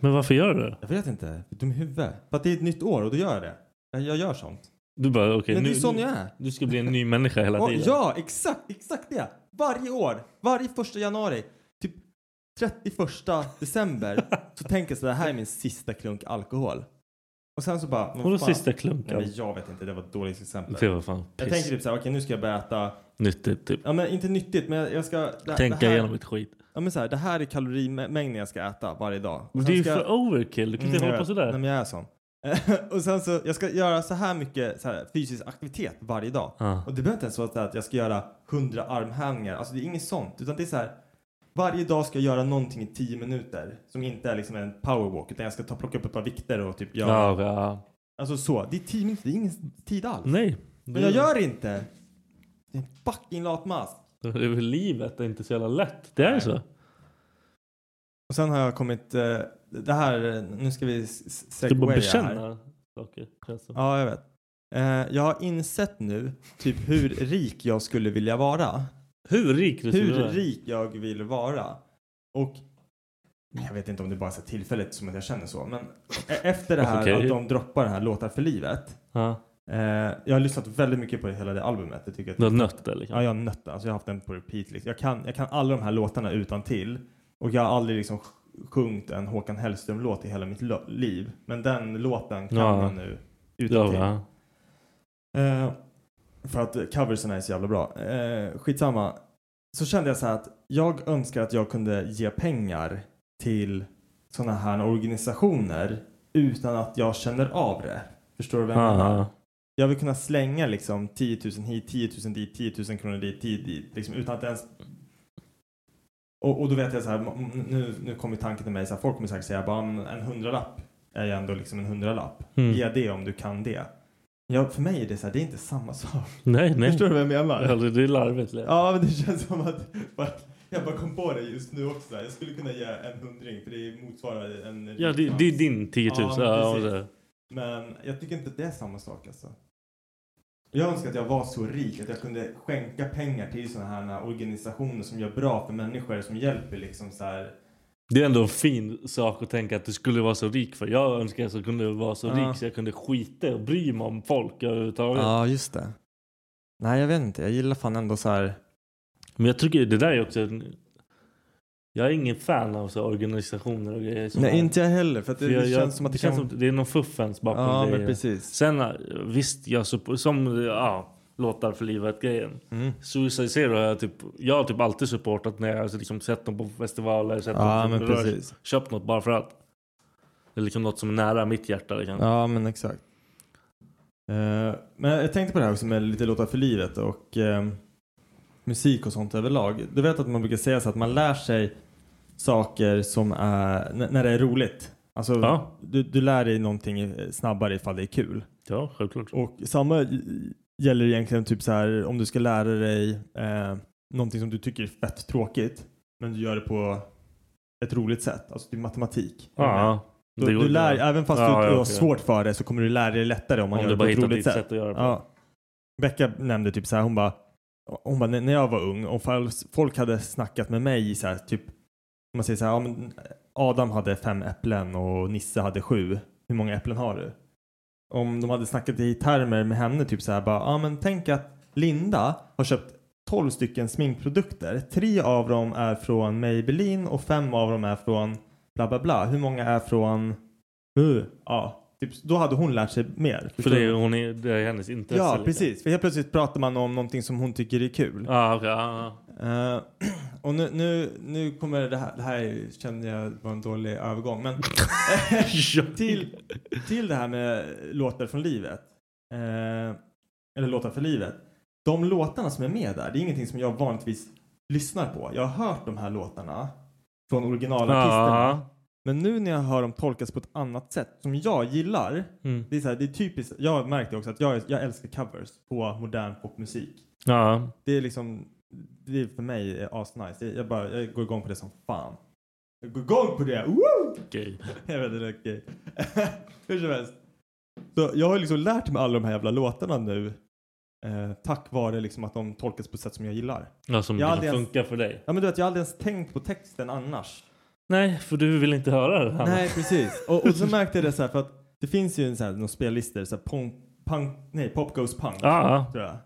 [SPEAKER 2] Men varför gör du det?
[SPEAKER 5] Jag vet inte. Jag är dum i huvudet. För att det är ett nytt år och då gör jag det. Jag, jag gör sånt.
[SPEAKER 2] Du bara okej
[SPEAKER 5] Men det
[SPEAKER 2] nu...
[SPEAKER 5] är sån jag är.
[SPEAKER 2] Du ska bli en ny människa hela
[SPEAKER 5] Och,
[SPEAKER 2] tiden.
[SPEAKER 5] ja, exakt, exakt det. Varje år, varje första januari, typ 31 december så tänker jag så här, det här är min sista klunk alkohol. Och sen så bara, vad
[SPEAKER 2] Och då
[SPEAKER 5] fan.
[SPEAKER 2] sista
[SPEAKER 5] Nej,
[SPEAKER 2] klunkan.
[SPEAKER 5] men jag vet inte, det var ett dåligt exempel.
[SPEAKER 2] Det var fan
[SPEAKER 5] Jag
[SPEAKER 2] piss.
[SPEAKER 5] tänker typ så här, okej nu ska jag börja äta,
[SPEAKER 2] Nyttigt typ.
[SPEAKER 5] ja men inte nyttigt men jag ska... Det, det
[SPEAKER 2] Tänka
[SPEAKER 5] här,
[SPEAKER 2] igenom mitt skit.
[SPEAKER 5] Ja men så här, det här är kalorimängden jag ska äta varje dag. Och
[SPEAKER 2] Men Det
[SPEAKER 5] sen
[SPEAKER 2] är ju
[SPEAKER 5] ska jag-
[SPEAKER 2] för overkill. Du kan inte
[SPEAKER 5] jag
[SPEAKER 2] hålla på
[SPEAKER 5] vet.
[SPEAKER 2] sådär.
[SPEAKER 5] Nej men jag är sån. och sen så, jag ska göra så här mycket så här, fysisk aktivitet varje dag.
[SPEAKER 2] Ja.
[SPEAKER 5] Och det behöver inte ens vara så här att jag ska göra 100 armhävningar. Alltså det är inget sånt. Utan det är så här. Varje dag ska jag göra någonting i 10 minuter. Som inte är liksom en powerwalk. Utan jag ska ta, plocka upp ett par vikter och typ göra.
[SPEAKER 2] Ja, ja.
[SPEAKER 5] Alltså så. Det är 10 minuter. Det är ingen tid alls.
[SPEAKER 2] Nej.
[SPEAKER 5] Men jag gör inte. Det är en fucking latmask.
[SPEAKER 2] Det är väl livet är inte så jävla lätt. Det är så.
[SPEAKER 5] Och sen har jag kommit, eh, det här, eh, nu ska vi s- s-
[SPEAKER 2] Du bara
[SPEAKER 5] segwaya här.
[SPEAKER 2] bekänna saker. känns som.
[SPEAKER 5] Ja, jag vet. Eh, jag har insett nu typ hur rik jag skulle vilja vara.
[SPEAKER 2] Hur rik du skulle
[SPEAKER 5] Hur
[SPEAKER 2] vara.
[SPEAKER 5] rik jag vill vara. Och jag vet inte om det bara är så här tillfälligt som att jag känner så, men e- efter det här
[SPEAKER 2] Okej.
[SPEAKER 5] att de droppar den här Låtar för livet.
[SPEAKER 2] Ja.
[SPEAKER 5] Eh, jag har lyssnat väldigt mycket på hela det albumet. Jag tycker att
[SPEAKER 2] Du har nött det liksom.
[SPEAKER 5] Ja, jag har nött den. Alltså jag har haft den på repeat. Liksom. Jag, kan, jag kan alla de här låtarna utan till. Och jag har aldrig liksom sj- sjungit en Håkan Hellström-låt i hela mitt lo- liv. Men den låten kan
[SPEAKER 2] Ja.
[SPEAKER 5] man nu utan
[SPEAKER 2] Ja,
[SPEAKER 5] till.
[SPEAKER 2] va?
[SPEAKER 5] Eh, för att coversen är så jävla bra. Eh, skitsamma. Så kände jag så här att jag önskar att jag kunde ge pengar till sådana här organisationer utan att jag känner av det. Förstår du vad jag menar?
[SPEAKER 2] Aha.
[SPEAKER 5] Jag vill kunna slänga liksom 10 000 hit, 10 000 dit, 10 000 kronor dit, 10 dit. Liksom, utan att ens... Och, och då vet jag så här, m- m- nu, nu kommer tanken till mig så här, folk kommer säkert säga bara "Men en hundralapp är ju ändå liksom en hundralapp.
[SPEAKER 2] Mm.
[SPEAKER 5] Ge det om du kan det. Ja, för mig är det så här, det är inte samma sak.
[SPEAKER 2] Nej, nej.
[SPEAKER 5] Förstår du vad jag menar?
[SPEAKER 2] Ja, det det är larvigt. liksom.
[SPEAKER 5] Ja, men det känns som att bara, jag bara kom på det just nu också. Jag skulle kunna ge en hundring för det motsvarar en...
[SPEAKER 2] Ja, det, det är din 10 000.
[SPEAKER 5] Ja, men
[SPEAKER 2] Ja, och
[SPEAKER 5] precis.
[SPEAKER 2] det.
[SPEAKER 5] Men jag tycker inte att det är samma sak alltså. Jag önskar att jag var så rik att jag kunde skänka pengar till sådana här organisationer som gör bra för människor, som hjälper liksom så här.
[SPEAKER 2] det är ändå en fin sak att tänka att du skulle vara så rik för. Jag önskar att jag kunde vara så
[SPEAKER 5] Ja.
[SPEAKER 2] rik så jag kunde skita och bry mig om folk överhuvudtaget.
[SPEAKER 5] just det. Nej, jag vet inte. Jag gillar fan ändå så här.
[SPEAKER 2] Men jag tycker det där är också... En... Jag är ingen fan av så här organisationer och grejer. som-
[SPEAKER 5] jag heller. För att
[SPEAKER 2] För jag- jag- det känns som att det är någon fuffens bakom grejer.
[SPEAKER 5] precis.
[SPEAKER 2] Sen eh, visst, jag suppo- som ja, låtar för livet-grejen.
[SPEAKER 5] Mm.
[SPEAKER 2] Suicide Zero har jag, typ, jag har typ alltid supportat när jag har liksom sett dem på festivaler. Sett
[SPEAKER 5] Ja,
[SPEAKER 2] dem
[SPEAKER 5] men
[SPEAKER 2] på rörelse.
[SPEAKER 5] precis.
[SPEAKER 2] Köpt något bara för att. Det är liksom något som är nära mitt hjärta. Liksom.
[SPEAKER 5] Ja, men exakt. Eh, men jag tänkte på det här också med lite låtar för livet och ehm, musik och sånt överlag. Du vet att man brukar säga så att man lär sig saker som är, n- när det är roligt. Alltså,
[SPEAKER 2] Ja.
[SPEAKER 5] du, du lär dig någonting eh, snabbare ifall det är kul.
[SPEAKER 2] Ja, självklart.
[SPEAKER 5] Och samma i- gäller egentligen typ så här om du ska lära dig eh, någonting som du tycker är fett tråkigt men du gör det på ett roligt sätt. Alltså typ matematik.
[SPEAKER 2] Ja,
[SPEAKER 5] Du,
[SPEAKER 2] det
[SPEAKER 5] du
[SPEAKER 2] gjorde
[SPEAKER 5] lär,
[SPEAKER 2] jag.
[SPEAKER 5] även fast
[SPEAKER 2] Ja,
[SPEAKER 5] du,
[SPEAKER 2] ja,
[SPEAKER 5] du har
[SPEAKER 2] okej.
[SPEAKER 5] svårt för det så kommer du lära dig lättare om man
[SPEAKER 2] Om
[SPEAKER 5] gör det
[SPEAKER 2] du
[SPEAKER 5] på
[SPEAKER 2] bara
[SPEAKER 5] ett
[SPEAKER 2] hittar
[SPEAKER 5] roligt
[SPEAKER 2] ditt
[SPEAKER 5] sätt.
[SPEAKER 2] sätt. att göra det på.
[SPEAKER 5] Ja. Becka nämnde typ så här, hon bara, hon bara, "När- när jag var ung, om fall- folk hade snackat med mig i så här, typ, om man säger så här, ja, men Adam hade fem äpplen och Nisse hade sju, hur många äpplen har du? Om de hade snackat i termer med henne, typ så här, bara, ja men tänk att Linda har köpt 12 stycken sminkprodukter, tre av dem är från Maybelline och fem av dem är från bla bla bla, hur många är från, uh, ja, typ, då hade hon lärt sig mer.
[SPEAKER 2] För det är, hon är, det är hennes intresse.
[SPEAKER 5] Ja,
[SPEAKER 2] liksom.
[SPEAKER 5] precis. För helt plötsligt pratar man om någonting som hon tycker är kul.
[SPEAKER 2] Ja, okej, ja, ja.
[SPEAKER 5] Eh, och nu, nu, nu kommer det här, det här är- kände jag var en dålig övergång, men till, till det här med låtar från livet. Eh, eller låtar för livet. De låtarna som är med där, det är ingenting som jag vanligtvis lyssnar på. Jag har hört de här låtarna från originalartisterna.
[SPEAKER 2] Ja.
[SPEAKER 5] Men nu när jag hör dem tolkas på ett annat sätt som jag gillar.
[SPEAKER 2] Mm.
[SPEAKER 5] Det är, så här, det är typiskt, jag har märkt det också att jag, jag älskar covers på modern popmusik.
[SPEAKER 2] Ja.
[SPEAKER 5] Det är liksom, det är för mig är asnice. Jag, jag, bara, jag går igång på det som fan. Jag går igång på det! Woo!
[SPEAKER 2] Okej.
[SPEAKER 5] Jag vet inte, det är okej. Hur som helst. Så jag har liksom lärt mig alla de här jävla låtarna nu. Eh, tack vare liksom att de tolkas på ett sätt som jag gillar.
[SPEAKER 2] Ja, som
[SPEAKER 5] Ja,
[SPEAKER 2] liksom
[SPEAKER 5] det är-
[SPEAKER 2] funkar för dig.
[SPEAKER 5] Ja men du vet, jag har aldrig ens tänkt på texten annars.
[SPEAKER 2] Nej, för du vill inte höra det. Hanna.
[SPEAKER 5] Nej, precis. Och, och så märkte jag det så här för att det finns ju en så här, några spellistor, så här punk, punk, nej, pop goes punk.
[SPEAKER 2] Ja,
[SPEAKER 5] Tror jag.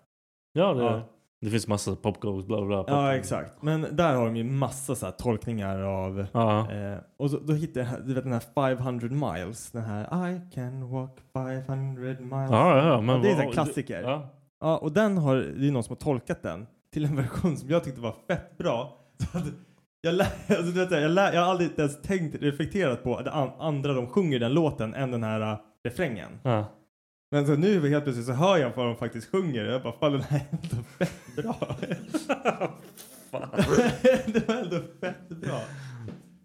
[SPEAKER 2] ja, det,
[SPEAKER 5] Ja.
[SPEAKER 2] det finns massa popgoes, bla bla. Pop
[SPEAKER 5] Ja, exakt. Men där har de ju massa så här tolkningar av...
[SPEAKER 2] Ja.
[SPEAKER 5] Eh, och så, då hittade jag den här- du vet, den här 500 miles. Den här I can walk 500 miles.
[SPEAKER 2] Ja, ja, ja, men
[SPEAKER 5] det är en
[SPEAKER 2] vad-
[SPEAKER 5] sån här klassiker. Ja.
[SPEAKER 2] Ja.
[SPEAKER 5] och den har, det är någon som har tolkat den till en version som jag tyckte var fett bra. Så att jag, lä- alltså, du vet, jag, lä- jag har aldrig ens tänkt, reflekterat på att an- andra de sjunger den låten än den här äh, refrängen.
[SPEAKER 2] Ja.
[SPEAKER 5] Men så nu helt plötsligt så hör jag vad de faktiskt sjunger och jag bara fan den här är ändå fett bra. det var ändå fett bra.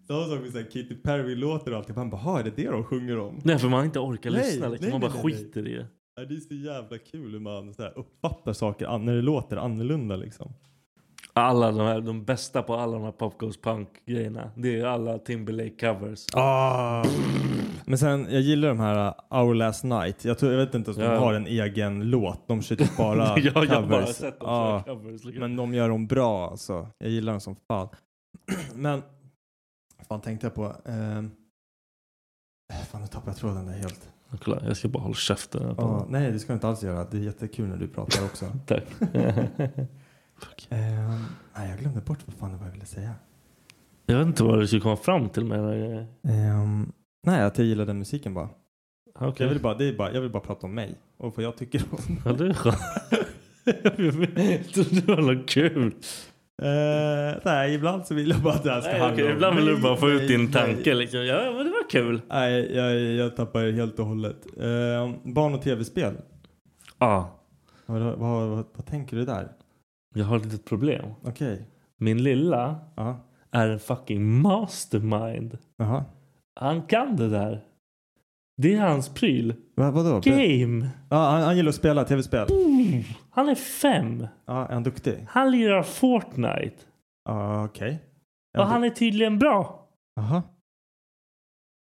[SPEAKER 5] Samma sak med så här Katy Perry-låtar och allt. Man bara, "Ha, är det det de sjunger om?
[SPEAKER 2] Nej, för man har inte orkar
[SPEAKER 5] Nej,
[SPEAKER 2] lyssna. Liksom.
[SPEAKER 5] nej,
[SPEAKER 2] man
[SPEAKER 5] nej,
[SPEAKER 2] bara
[SPEAKER 5] nej, nej.
[SPEAKER 2] skiter i det.
[SPEAKER 5] Ja, Det är så jävla kul hur man så här uppfattar saker an- när det låter annorlunda liksom.
[SPEAKER 2] Alla de här, de bästa på alla de här Pop Goes Punk-grejerna. Det är alla Timberlake-covers.
[SPEAKER 5] Ah. Men sen, jag gillar de här uh, Our Last Night. Jag, tror, jag vet inte ens om
[SPEAKER 2] Ja.
[SPEAKER 5] de har en egen låt. De kör typ bara
[SPEAKER 2] jag,
[SPEAKER 5] covers.
[SPEAKER 2] jag har bara sett dem
[SPEAKER 5] Ja.
[SPEAKER 2] ah, covers. liksom.
[SPEAKER 5] Men de gör dem bra alltså. Jag gillar dem som fan. Men, vad fan tänkte jag på? Ehm, äh, fan, nu tappade jag tråden där helt.
[SPEAKER 2] Kolla, jag ska bara hålla käften. här på
[SPEAKER 5] Ja, nej, det ska du inte alls göra. Det är jättekul när du pratar också.
[SPEAKER 2] den. Tack.
[SPEAKER 5] Ehm, nej, jag glömde bort vad fan det var jag ville säga.
[SPEAKER 2] jag vet inte vad du skulle komma fram till med den här eh, grejen.
[SPEAKER 5] Ehm, nej, att jag gillar den musiken bara.
[SPEAKER 2] Ah,
[SPEAKER 5] Jag
[SPEAKER 2] Okej.
[SPEAKER 5] vill bara, det är bara. Jag vill bara prata om mig och vad jag tycker om.
[SPEAKER 2] Ja, det är skönt. jag trodde det var något kul.
[SPEAKER 5] Eh, nej, ibland så vill jag bara att det här ska
[SPEAKER 2] Nej,
[SPEAKER 5] handla
[SPEAKER 2] okej,
[SPEAKER 5] om
[SPEAKER 2] ibland vill du
[SPEAKER 5] mig.
[SPEAKER 2] bara få ut
[SPEAKER 5] Nej,
[SPEAKER 2] din
[SPEAKER 5] nej.
[SPEAKER 2] tanke. Liksom. Ja, men det var kul.
[SPEAKER 5] Nej, jag, jag tappar det helt och hållet. Eh, barn och tv-spel.
[SPEAKER 2] Ja,
[SPEAKER 5] Vad, vad, vad, vad tänker du där?
[SPEAKER 2] jag har ett litet problem.
[SPEAKER 5] Okej.
[SPEAKER 2] Min lilla
[SPEAKER 5] Ja.
[SPEAKER 2] är en fucking mastermind.
[SPEAKER 5] Jaha.
[SPEAKER 2] Han kan det där. Det är hans pryl.
[SPEAKER 5] Va, vadå?
[SPEAKER 2] Game.
[SPEAKER 5] Ja, han, han gillar att spela tv-spel.
[SPEAKER 2] Han är fem.
[SPEAKER 5] Ja, är han duktig?
[SPEAKER 2] Han lirar Fortnite.
[SPEAKER 5] Ja, okej.
[SPEAKER 2] Och han är tydligen bra.
[SPEAKER 5] Jaha.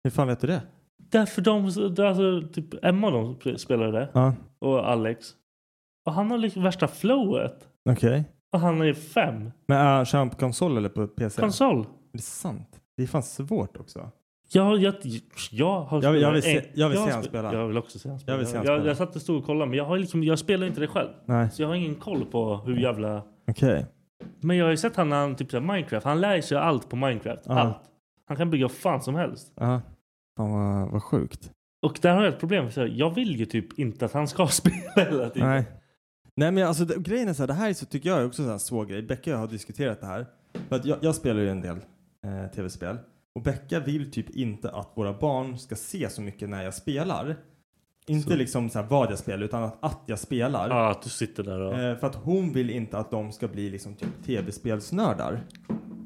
[SPEAKER 5] Hur fan vet du det?
[SPEAKER 2] Därför de, alltså, typ Emma och de spelade det.
[SPEAKER 5] Ja,
[SPEAKER 2] Och Alex. Och han har liksom värsta flowet.
[SPEAKER 5] okej.
[SPEAKER 2] Och han är fem.
[SPEAKER 5] Men uh, kör han på konsol eller på PC?
[SPEAKER 2] Konsol.
[SPEAKER 5] Det är sant. Det är fan svårt också.
[SPEAKER 2] Jag, jag, jag har
[SPEAKER 5] Jag vill- jag vill
[SPEAKER 2] spelat
[SPEAKER 5] se-
[SPEAKER 2] en-
[SPEAKER 5] jag vill se
[SPEAKER 2] har
[SPEAKER 5] han
[SPEAKER 2] spe-
[SPEAKER 5] spela.
[SPEAKER 2] Jag vill också se han spela.
[SPEAKER 5] Jag vill se han
[SPEAKER 2] jag,
[SPEAKER 5] spela.
[SPEAKER 2] jag satt och stod och kollade men jag, har liksom, jag spelar inte det själv.
[SPEAKER 5] Nej,
[SPEAKER 2] Så jag har ingen koll på hur jävla...
[SPEAKER 5] okej.
[SPEAKER 2] Men jag har ju sett han när han typ såhär Minecraft. Han lär sig allt på Minecraft.
[SPEAKER 5] Ja.
[SPEAKER 2] Allt. Han kan bygga vad fan som helst.
[SPEAKER 5] Ja. Fan vad, vad sjukt.
[SPEAKER 2] Och där har jag ett problem. För jag vill ju typ inte att han ska spela hela tiden.
[SPEAKER 5] Nej. Nej men jag- alltså det, grejen är så här, det här är så, tycker jag är också en sån här svår grej. Becka och jag har diskuterat det här. För att jag, jag spelar ju en del eh, tv-spel. Och Becka vill typ inte att våra barn ska se så mycket när jag spelar. Inte
[SPEAKER 2] Så.
[SPEAKER 5] liksom så här vad jag spelar utan att, att jag spelar.
[SPEAKER 2] Ja, att du sitter där och...
[SPEAKER 5] Eh, för att hon vill inte att de ska bli liksom typ tv-spelsnördar.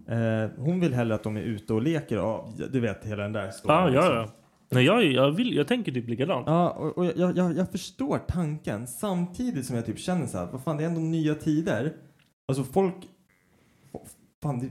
[SPEAKER 5] Eh, hon vill hellre att de är ute och leker och du vet hela den där storyn.
[SPEAKER 2] Ja, ja,
[SPEAKER 5] liksom.
[SPEAKER 2] ja. Nej, jag, jag, vill, jag tänker typ likadant.
[SPEAKER 5] Ja, och, och jag, jag, jag förstår tanken samtidigt som jag typ känner så här, vad fan det är ändå nya tider. Alltså folk, oh, fan det,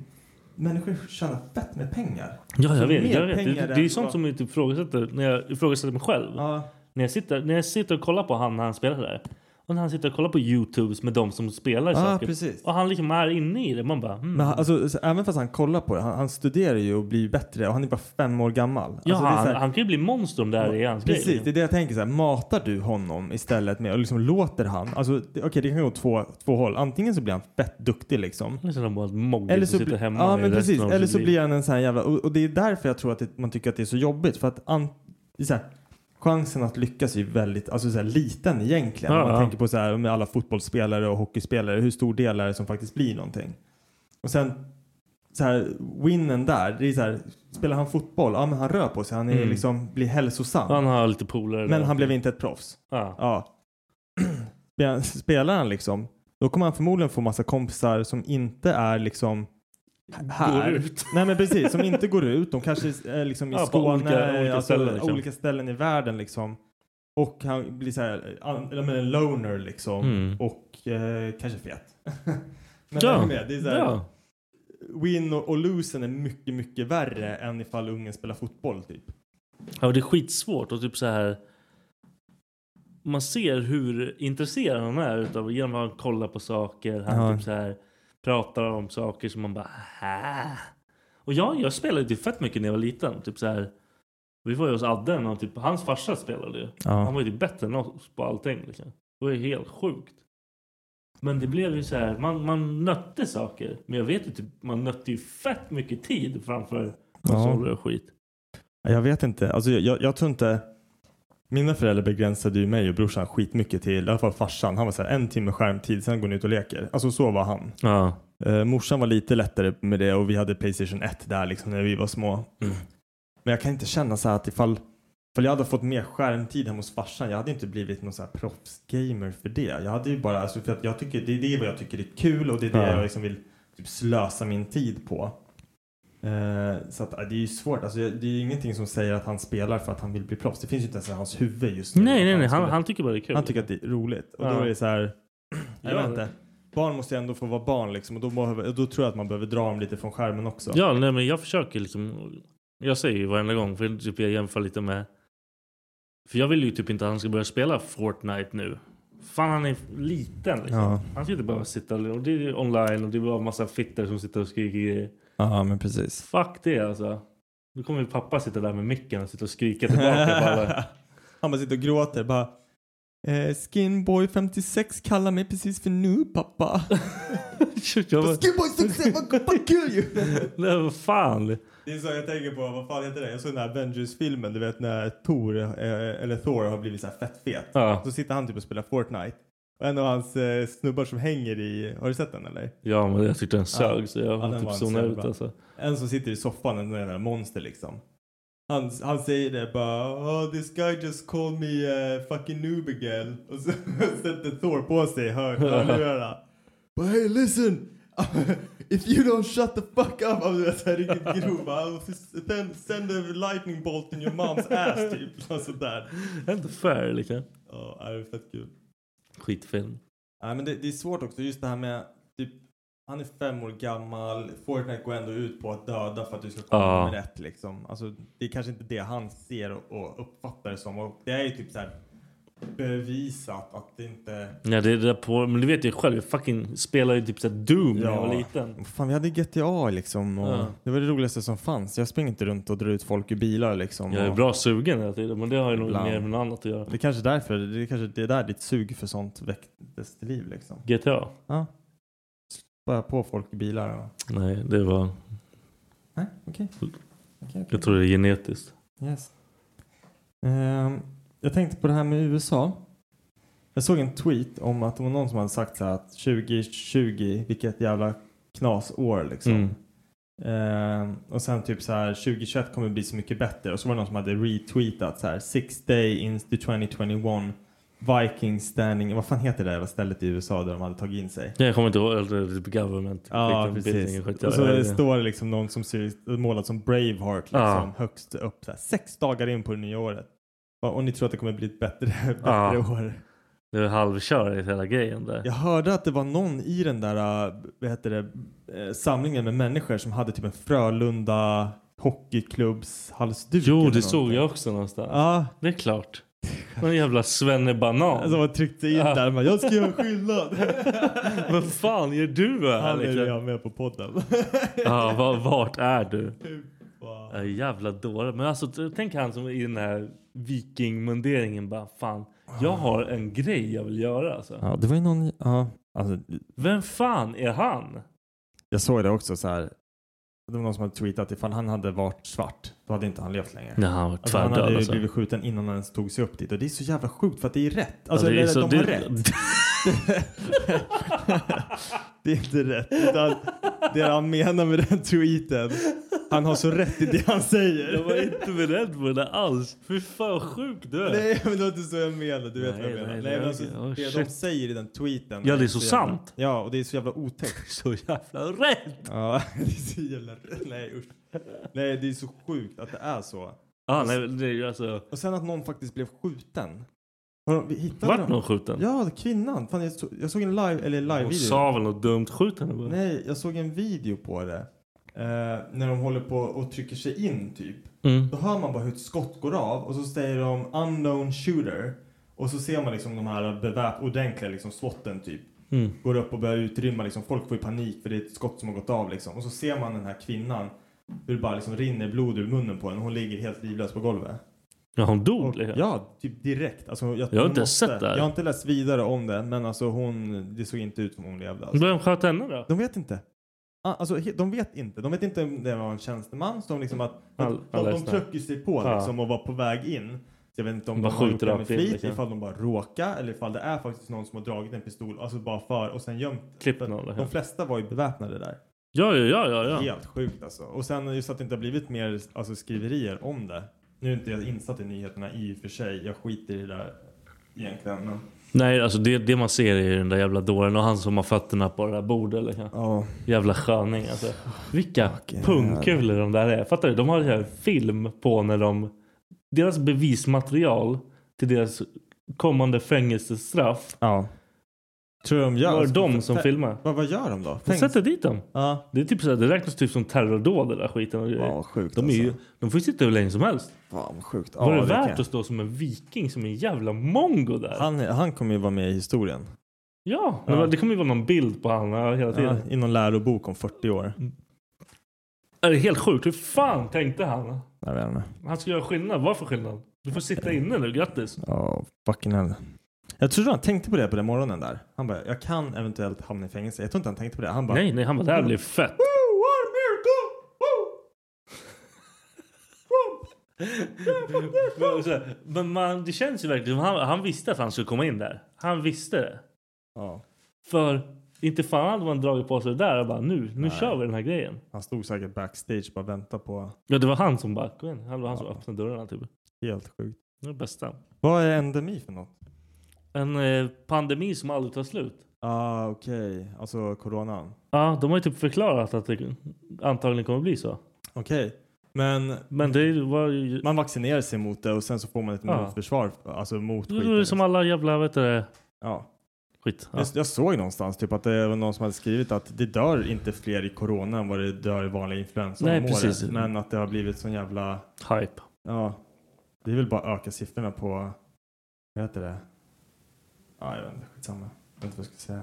[SPEAKER 5] människor tjänar fett med pengar.
[SPEAKER 2] Ja,
[SPEAKER 5] Så
[SPEAKER 2] jag vet.
[SPEAKER 5] mer
[SPEAKER 2] Jag vet. Det,
[SPEAKER 5] pengar
[SPEAKER 2] det är
[SPEAKER 5] än
[SPEAKER 2] ju sånt
[SPEAKER 5] vad-
[SPEAKER 2] som jag typ ifrågasätter när jag ifrågasätter mig själv.
[SPEAKER 5] Ja,
[SPEAKER 2] När, jag sitter, när jag sitter och kollar på han när han spelar där. Och när han sitter och kollar på YouTubes med de som spelar
[SPEAKER 5] ja Ah,
[SPEAKER 2] saker.
[SPEAKER 5] precis.
[SPEAKER 2] Och han liksom är inne i det. Man bara... Mm.
[SPEAKER 5] Men han, alltså, så, även fast han kollar på det, han, han studerar ju och blir bättre och han är bara fem år gammal.
[SPEAKER 2] ja,
[SPEAKER 5] alltså, det är så
[SPEAKER 2] han,
[SPEAKER 5] här-
[SPEAKER 2] han kan ju bli monster om det här är hans
[SPEAKER 5] Precis,
[SPEAKER 2] grej. liksom.
[SPEAKER 5] det är det jag tänker. Så här, matar du honom istället med och liksom låter han, alltså det- okej det kan gå två, två håll. Antingen så blir han fett duktig liksom.
[SPEAKER 2] Liksom de bara moggar
[SPEAKER 5] Eller
[SPEAKER 2] som
[SPEAKER 5] så,
[SPEAKER 2] sitter
[SPEAKER 5] bli,
[SPEAKER 2] hemma
[SPEAKER 5] ja,
[SPEAKER 2] i
[SPEAKER 5] men
[SPEAKER 2] resten
[SPEAKER 5] precis.
[SPEAKER 2] av
[SPEAKER 5] Eller
[SPEAKER 2] sitt
[SPEAKER 5] så
[SPEAKER 2] liv.
[SPEAKER 5] blir han en sån här jävla... Och, och det är därför jag tror att det, man tycker att det är så jobbigt. För att an, det är så här, chansen att lyckas är ju väldigt alltså, så här, liten egentligen.
[SPEAKER 2] Ja,
[SPEAKER 5] Om man
[SPEAKER 2] ja.
[SPEAKER 5] tänker på så här, med alla fotbollsspelare och hockeyspelare. Hur stor del är det som faktiskt blir någonting? Och sen så här, winnen där. Det är så här, spelar han fotboll? Ja, men han rör på sig. Han är,
[SPEAKER 2] Mm.
[SPEAKER 5] liksom, blir hälsosam.
[SPEAKER 2] Han har lite polare.
[SPEAKER 5] men
[SPEAKER 2] där.
[SPEAKER 5] han blev inte ett proffs.
[SPEAKER 2] Ja.
[SPEAKER 5] Ja. Spe- Spelar han liksom, då kommer han förmodligen få massa kompisar som inte är liksom här.
[SPEAKER 2] Går ut.
[SPEAKER 5] Nej men precis, som inte går ut. De kanske är liksom i
[SPEAKER 2] Ja, på
[SPEAKER 5] Skåne,
[SPEAKER 2] olika- olika
[SPEAKER 5] alltså,
[SPEAKER 2] ställen, liksom.
[SPEAKER 5] olika ställen i världen liksom. Och han blir så här, an- eller men en loner liksom.
[SPEAKER 2] Mm.
[SPEAKER 5] Och eh, kanske fet. men
[SPEAKER 2] Ja.
[SPEAKER 5] ja. med, det är så här,
[SPEAKER 2] Ja.
[SPEAKER 5] win och, och losen är mycket, mycket värre än ifall ungen spelar fotboll typ.
[SPEAKER 2] Ja, och det är skitsvårt och typ så här. Man ser hur intresserad han är utav genom att han kollar på saker. Han
[SPEAKER 5] Ja.
[SPEAKER 2] typ så här pratar om saker som man bara Hä? Och jag, jag spelade ju fett mycket när jag var liten. Typ så här. Vi var ju hos Adden och typ hans farsa spelade ju. Han var ju typ bättre än oss på allting. Liksom. Det var ju helt sjukt. Men det blev ju så här, man, man nötte saker. Men jag vet ju typ, man nötte ju fett mycket tid framför konsoler och skit.
[SPEAKER 5] Jag vet inte. Alltså, jag, jag, jag tror inte... Mina föräldrar begränsade ju mig och brorsan skitmycket till, i alla fall farsan. Han var så här, en timme skärmtid, sen går ni ut och leker. Alltså så var han.
[SPEAKER 2] Ja.
[SPEAKER 5] Eh, morsan var lite lättare med det och vi hade Playstation 1 där liksom när vi var små. Men jag kan inte känna så här att ifall, ifall jag hade fått mer skärmtid hemma hos farsan, jag hade inte blivit någon så här proffsgamer för det. Jag hade ju bara, alltså för att jag tycker, det är det vad jag tycker är kul och det är det
[SPEAKER 2] Ja.
[SPEAKER 5] jag liksom vill typ slösa min tid på. Eh, så att, eh, det är ju svårt. Alltså, jag- det är ju ingenting som säger att han spelar för att han vill bli proffs. Det finns ju inte ens i hans huvud just nu.
[SPEAKER 2] Nej,
[SPEAKER 5] att
[SPEAKER 2] nej, nej. Han,
[SPEAKER 5] skulle-
[SPEAKER 2] han tycker bara det är kul.
[SPEAKER 5] han tycker att det är roligt. Och då
[SPEAKER 2] Ja.
[SPEAKER 5] är det så här, jag
[SPEAKER 2] Ja.
[SPEAKER 5] vet inte. Barn måste ju ändå få vara barn liksom. Och då, behöver, då tror jag att man behöver dra dem lite från skärmen också.
[SPEAKER 2] Ja, nej, men jag försöker liksom. Jag säger ju varenda gång, för typ jag jämför lite med... För jag vill ju typ inte att han ska börja spela Fortnite nu. Fan, han är liten liksom.
[SPEAKER 5] Ja.
[SPEAKER 2] Han ska inte behöva sitta och det är online och det är bara en massa fitter som sitter och skriker grejer.
[SPEAKER 5] Ja, men precis.
[SPEAKER 2] Fuck det alltså. Nu kommer ju pappa sitta där med micken och sitta och skrika tillbaka på alla.
[SPEAKER 5] Han bara sitter och gråter. Bara, eh, Skinboy 56 kallar mig precis för nu pappa.
[SPEAKER 2] Shit, jag bara,
[SPEAKER 5] Skinboy 56, vad vad kul ju!
[SPEAKER 2] nej, vad fan.
[SPEAKER 5] Det är så jag tänker på, vad fan heter det? Jag såg den här Avengers-filmen, du vet när Thor, eh, eller Thor har blivit så här fett fet.
[SPEAKER 2] Ja,
[SPEAKER 5] Så sitter han typ och spelar Fortnite. Och en av hans eh, snubbar som hänger i, har du sett den eller?
[SPEAKER 2] ja men jag tyckte den sög så jag
[SPEAKER 5] Ja, den
[SPEAKER 2] typ
[SPEAKER 5] var
[SPEAKER 2] zonade
[SPEAKER 5] så
[SPEAKER 2] ut
[SPEAKER 5] bra.
[SPEAKER 2] alltså.
[SPEAKER 5] En som sitter i soffan, en jävla monster liksom. Han, han säger det bara oh, this guy just called me eh, fucking noob again. Och så sätter Thor på sig hör- hörlurarna. But hey listen! If you don't shut the fuck up! Han är så här riktigt grov. va? "I will Send, send a lightning bolt in your mom's ass typ. Och sådär.
[SPEAKER 2] Det är inte fair liksom.
[SPEAKER 5] Ja, det är fett kul.
[SPEAKER 2] Skitfilm.
[SPEAKER 5] Nej, men det, det är svårt också, just det här med typ, han är fem år gammal, Fortnite går ändå ut på att döda för att du ska komma
[SPEAKER 2] Ja.
[SPEAKER 5] med rätt liksom. Alltså, det är kanske inte det han ser och, och uppfattar det som. Och det är ju typ så här bevisat att det inte...
[SPEAKER 2] Ja, det är det där på, men du vet ju själv, jag fucking spelade ju typ såhär Doom när jag var liten.
[SPEAKER 5] Fan, vi hade GTA liksom.
[SPEAKER 2] och Ja.
[SPEAKER 5] Det var det roligaste som fanns. Jag springer inte runt och drar ut folk ur bilar liksom.
[SPEAKER 2] Jag är bra sugen hela tiden, men det har ju nog
[SPEAKER 5] Ibland.
[SPEAKER 2] mer med något annat att göra.
[SPEAKER 5] Det är kanske därför, det är kanske det där ditt sug för sånt väcktes till liv liksom.
[SPEAKER 2] GTA?
[SPEAKER 5] Bara på folk i bilar och...
[SPEAKER 2] Nej, det var...
[SPEAKER 5] Nej, okej. Okej, okej.
[SPEAKER 2] Jag tror det är genetiskt.
[SPEAKER 5] Yes. Ehm, jag tänkte på det här med USA. Jag såg en tweet om att det var någon som hade sagt så här att 2020, vilket jävla knasår liksom.
[SPEAKER 2] Mm.
[SPEAKER 5] Ehm, och sen typ så här 2021 kommer bli så mycket bättre. Och så var det någon som hade retweetat så här Six day into 2021 Vikings standing, vad fan heter det där jävla stället i USA där de hade tagit in sig?
[SPEAKER 2] Nej, Jag kommer inte ihåg, eller typ government.
[SPEAKER 5] Ja,
[SPEAKER 2] Skit-
[SPEAKER 5] precis.
[SPEAKER 2] building, skit-
[SPEAKER 5] Och så
[SPEAKER 2] jag-
[SPEAKER 5] står det liksom någon som ser målad som Braveheart liksom,
[SPEAKER 2] Ja.
[SPEAKER 5] högst upp. Så här, sex dagar in på det nya året. Ja, Och ni tror att det kommer bli ett bättre, bättre
[SPEAKER 2] Ja.
[SPEAKER 5] år.
[SPEAKER 2] Det är halvkör i hela grejen där.
[SPEAKER 5] Jag hörde att det var någon i den där äh, vad heter det, äh, samlingen med människor som hade typ en Frölunda hockeyklubbs halsduk. eller
[SPEAKER 2] jo, det
[SPEAKER 5] någonting.
[SPEAKER 2] såg jag också någonstans.
[SPEAKER 5] Ja,
[SPEAKER 2] Det är klart. Någon jävla svennebanan.
[SPEAKER 5] alltså man tryckte in
[SPEAKER 2] Ja.
[SPEAKER 5] där. Man, jag ska göra skillnad.
[SPEAKER 2] Vad fan gör du här?
[SPEAKER 5] Han är
[SPEAKER 2] liksom?
[SPEAKER 5] redan med på podden.
[SPEAKER 2] Ja, va- vart är du?
[SPEAKER 5] Wow.
[SPEAKER 2] Ja, jävla dåre. Men alltså t- tänk han som i den här vikingmunderingen bara fan, jag har en grej jag vill göra alltså.
[SPEAKER 5] Ja, det var ju någon, ja, alltså
[SPEAKER 2] Vem fan är han?
[SPEAKER 5] Jag såg det också så här. Det var någon som hade tweetat ifall han hade varit svart då hade inte han levt längre.
[SPEAKER 2] Nej, han var
[SPEAKER 5] Alltså, han
[SPEAKER 2] tvärdöd
[SPEAKER 5] hade ju
[SPEAKER 2] alltså.
[SPEAKER 5] blivit skjuten innan han ens tog sig upp dit och det är så jävla sjukt för att det är rätt. Alltså
[SPEAKER 2] Ja, det är
[SPEAKER 5] eller,
[SPEAKER 2] så
[SPEAKER 5] de har
[SPEAKER 2] du-
[SPEAKER 5] rätt. det är inte rätt. Utan det han menar med den tweeten. Han har så rätt i det han
[SPEAKER 2] Jag
[SPEAKER 5] säger.
[SPEAKER 2] var inte beredd på det där alls. Fy fan vad sjuk du är.
[SPEAKER 5] Nej men det var inte så jag menade. Du vet
[SPEAKER 2] Nej,
[SPEAKER 5] vad jag menar.
[SPEAKER 2] nej,
[SPEAKER 5] Nej,
[SPEAKER 2] det är
[SPEAKER 5] men alltså,
[SPEAKER 2] okej. Oh,
[SPEAKER 5] det de
[SPEAKER 2] shit.
[SPEAKER 5] säger i den tweeten.
[SPEAKER 2] Ja, det är så
[SPEAKER 5] jävla-
[SPEAKER 2] sant.
[SPEAKER 5] Ja och det är så jävla otäckt.
[SPEAKER 2] Så jävla rädd.
[SPEAKER 5] Ja, det är så jävla... Nej usch. Nej, det är så sjukt att det är så.
[SPEAKER 2] Ja, nej, det är ju alltså.
[SPEAKER 5] Och sen att någon faktiskt blev skjuten. Har de, vi hittade
[SPEAKER 2] Vart
[SPEAKER 5] dem?
[SPEAKER 2] någon skjuten?
[SPEAKER 5] Ja, kvinnan. Fan, jag, så, jag såg en live, eller
[SPEAKER 2] Hon
[SPEAKER 5] live-video.
[SPEAKER 2] sa väl något dumt? Skjut henne bara.
[SPEAKER 5] Nej, jag såg en video på det. Eh, när de håller på och trycker sig in typ.
[SPEAKER 2] Mm.
[SPEAKER 5] Då hör man bara hur ett skott går av och så säger de unknown shooter. Och så ser man liksom de här beväp ordentliga liksom slotten typ.
[SPEAKER 2] Mm.
[SPEAKER 5] Går upp och börjar utrymma liksom. Folk får ju panik för det är ett skott som har gått av liksom. Och så ser man den här kvinnan. Hur det bara liksom rinner blod ur munnen på henne. Hon ligger helt livlös på golvet.
[SPEAKER 2] Ja, hon dog.
[SPEAKER 5] Och,
[SPEAKER 2] liksom.
[SPEAKER 5] ja, typ direkt. Alltså, jag,
[SPEAKER 2] Jag har inte
[SPEAKER 5] måste-
[SPEAKER 2] sett det här.
[SPEAKER 5] Jag har inte läst vidare om det. Men alltså hon, det såg inte ut som hon levde. Alltså.
[SPEAKER 2] Vem sköt henne då?
[SPEAKER 5] De vet inte. Ah, Alltså, he- de vet inte. De vet inte om det var en tjänsteman. Så de, liksom att,
[SPEAKER 2] All-
[SPEAKER 5] att,
[SPEAKER 2] alla
[SPEAKER 5] de,
[SPEAKER 2] är
[SPEAKER 5] de
[SPEAKER 2] snälla.
[SPEAKER 5] trycker sig på
[SPEAKER 2] Ja.
[SPEAKER 5] liksom, och var på väg in. Så jag vet inte om
[SPEAKER 2] De
[SPEAKER 5] de,
[SPEAKER 2] bara
[SPEAKER 5] har gjort
[SPEAKER 2] skjuter
[SPEAKER 5] det med
[SPEAKER 2] rakt in,
[SPEAKER 5] flit,
[SPEAKER 2] liksom.
[SPEAKER 5] ifall de bara råkar eller ifall det är faktiskt någon som har dragit en pistol, alltså bara för och sen gömt.
[SPEAKER 2] Klipp
[SPEAKER 5] För
[SPEAKER 2] någon, liksom.
[SPEAKER 5] De flesta var ju beväpnade där.
[SPEAKER 2] Ja, ja, ja, ja. ja.
[SPEAKER 5] Helt sjukt alltså. Och sen just att det inte har blivit mer alltså, skriverier om det. Nu är inte jag insatt i nyheterna i och för sig. Jag skiter i det där egentligen. Men
[SPEAKER 2] Nej, alltså det, det man ser är ju den där jävla dåren och han som har fötterna på det där bordet. Liksom.
[SPEAKER 5] Ja.
[SPEAKER 2] Jävla sköning alltså. Vilka pungkulor de där är. Fattar du? De har så här film på när de... Deras bevismaterial till deras kommande fängelsestraff
[SPEAKER 5] Ja. Tror du de gör?
[SPEAKER 2] var de som
[SPEAKER 5] Fä-
[SPEAKER 2] filmade.
[SPEAKER 5] Vad, vad gör de då?
[SPEAKER 2] De
[SPEAKER 5] Fängs-
[SPEAKER 2] sätter dit dem.
[SPEAKER 5] Ja.
[SPEAKER 2] Det, är typ så här, det räknas typ som terrordåd den där skiten. Och
[SPEAKER 5] Fan
[SPEAKER 2] grejer.
[SPEAKER 5] vad sjukt
[SPEAKER 2] de, är
[SPEAKER 5] alltså.
[SPEAKER 2] ju, de får ju sitta hur länge som helst.
[SPEAKER 5] Fan vad sjukt.
[SPEAKER 2] var det,
[SPEAKER 5] Ja, kan
[SPEAKER 2] värt
[SPEAKER 5] jag-
[SPEAKER 2] att stå som en viking som en jävla mongo där?
[SPEAKER 5] han, han kommer ju vara med i historien.
[SPEAKER 2] Ja,
[SPEAKER 5] Ja.
[SPEAKER 2] det kommer ju vara någon bild på han ja, hela tiden.
[SPEAKER 5] Ja, I någon lärobok om 40 år.
[SPEAKER 2] Är det är helt sjukt. Hur fan tänkte han?
[SPEAKER 5] Jag vet inte.
[SPEAKER 2] Han ska göra skillnad. Vad för skillnad? Du får sitta inne nu. Grattis.
[SPEAKER 5] Ja, fucking hell. Jag tror han tänkte på det på den morgonen där. Han bara, jag kan eventuellt hamna i fängelse. Jag tror inte han tänkte på det. Han bara,
[SPEAKER 2] Nej, nej, han bara, det här blir fett.
[SPEAKER 5] Woo, what a miracle! Woo!
[SPEAKER 2] Men, så här, men man, det känns ju verkligen som han, han visste att han skulle komma in där. Han visste det.
[SPEAKER 5] Ja,
[SPEAKER 2] För inte fan hade man dragit på sig det där och bara nu, nu kör vi den här grejen.
[SPEAKER 5] han stod säkert backstage och bara väntade på
[SPEAKER 2] Ja, det var han som bara, kom in. Han var han som öppnade dörrarna typ. Det
[SPEAKER 5] helt sjukt.
[SPEAKER 2] var det bästa.
[SPEAKER 5] Vad är endemi för något?
[SPEAKER 2] En eh, pandemi som aldrig tar slut.
[SPEAKER 5] Ah, okej. Alltså coronan.
[SPEAKER 2] Ja, de har ju typ förklarat att det antagligen kommer bli så.
[SPEAKER 5] Okej. Men
[SPEAKER 2] Men det var ju...
[SPEAKER 5] man vaccinerar sig mot det och sen så får man ett
[SPEAKER 2] Ja.
[SPEAKER 5] motförsvar. Alltså mot
[SPEAKER 2] Det är
[SPEAKER 5] skiten.
[SPEAKER 2] ju som alla jävla, vet du det,
[SPEAKER 5] ja.
[SPEAKER 2] skit. Ja.
[SPEAKER 5] Jag, jag såg någonstans typ att det var någon som hade skrivit att det dör inte fler i corona än vad det dör i vanlig influensa
[SPEAKER 2] Nej,
[SPEAKER 5] om året.
[SPEAKER 2] precis.
[SPEAKER 5] Men att det har blivit sån jävla,
[SPEAKER 2] Hype.
[SPEAKER 5] ja, det är väl bara att öka siffrorna på, vad heter det? Ja, jag vet inte, skitsamma. Jag vet inte vad jag ska säga.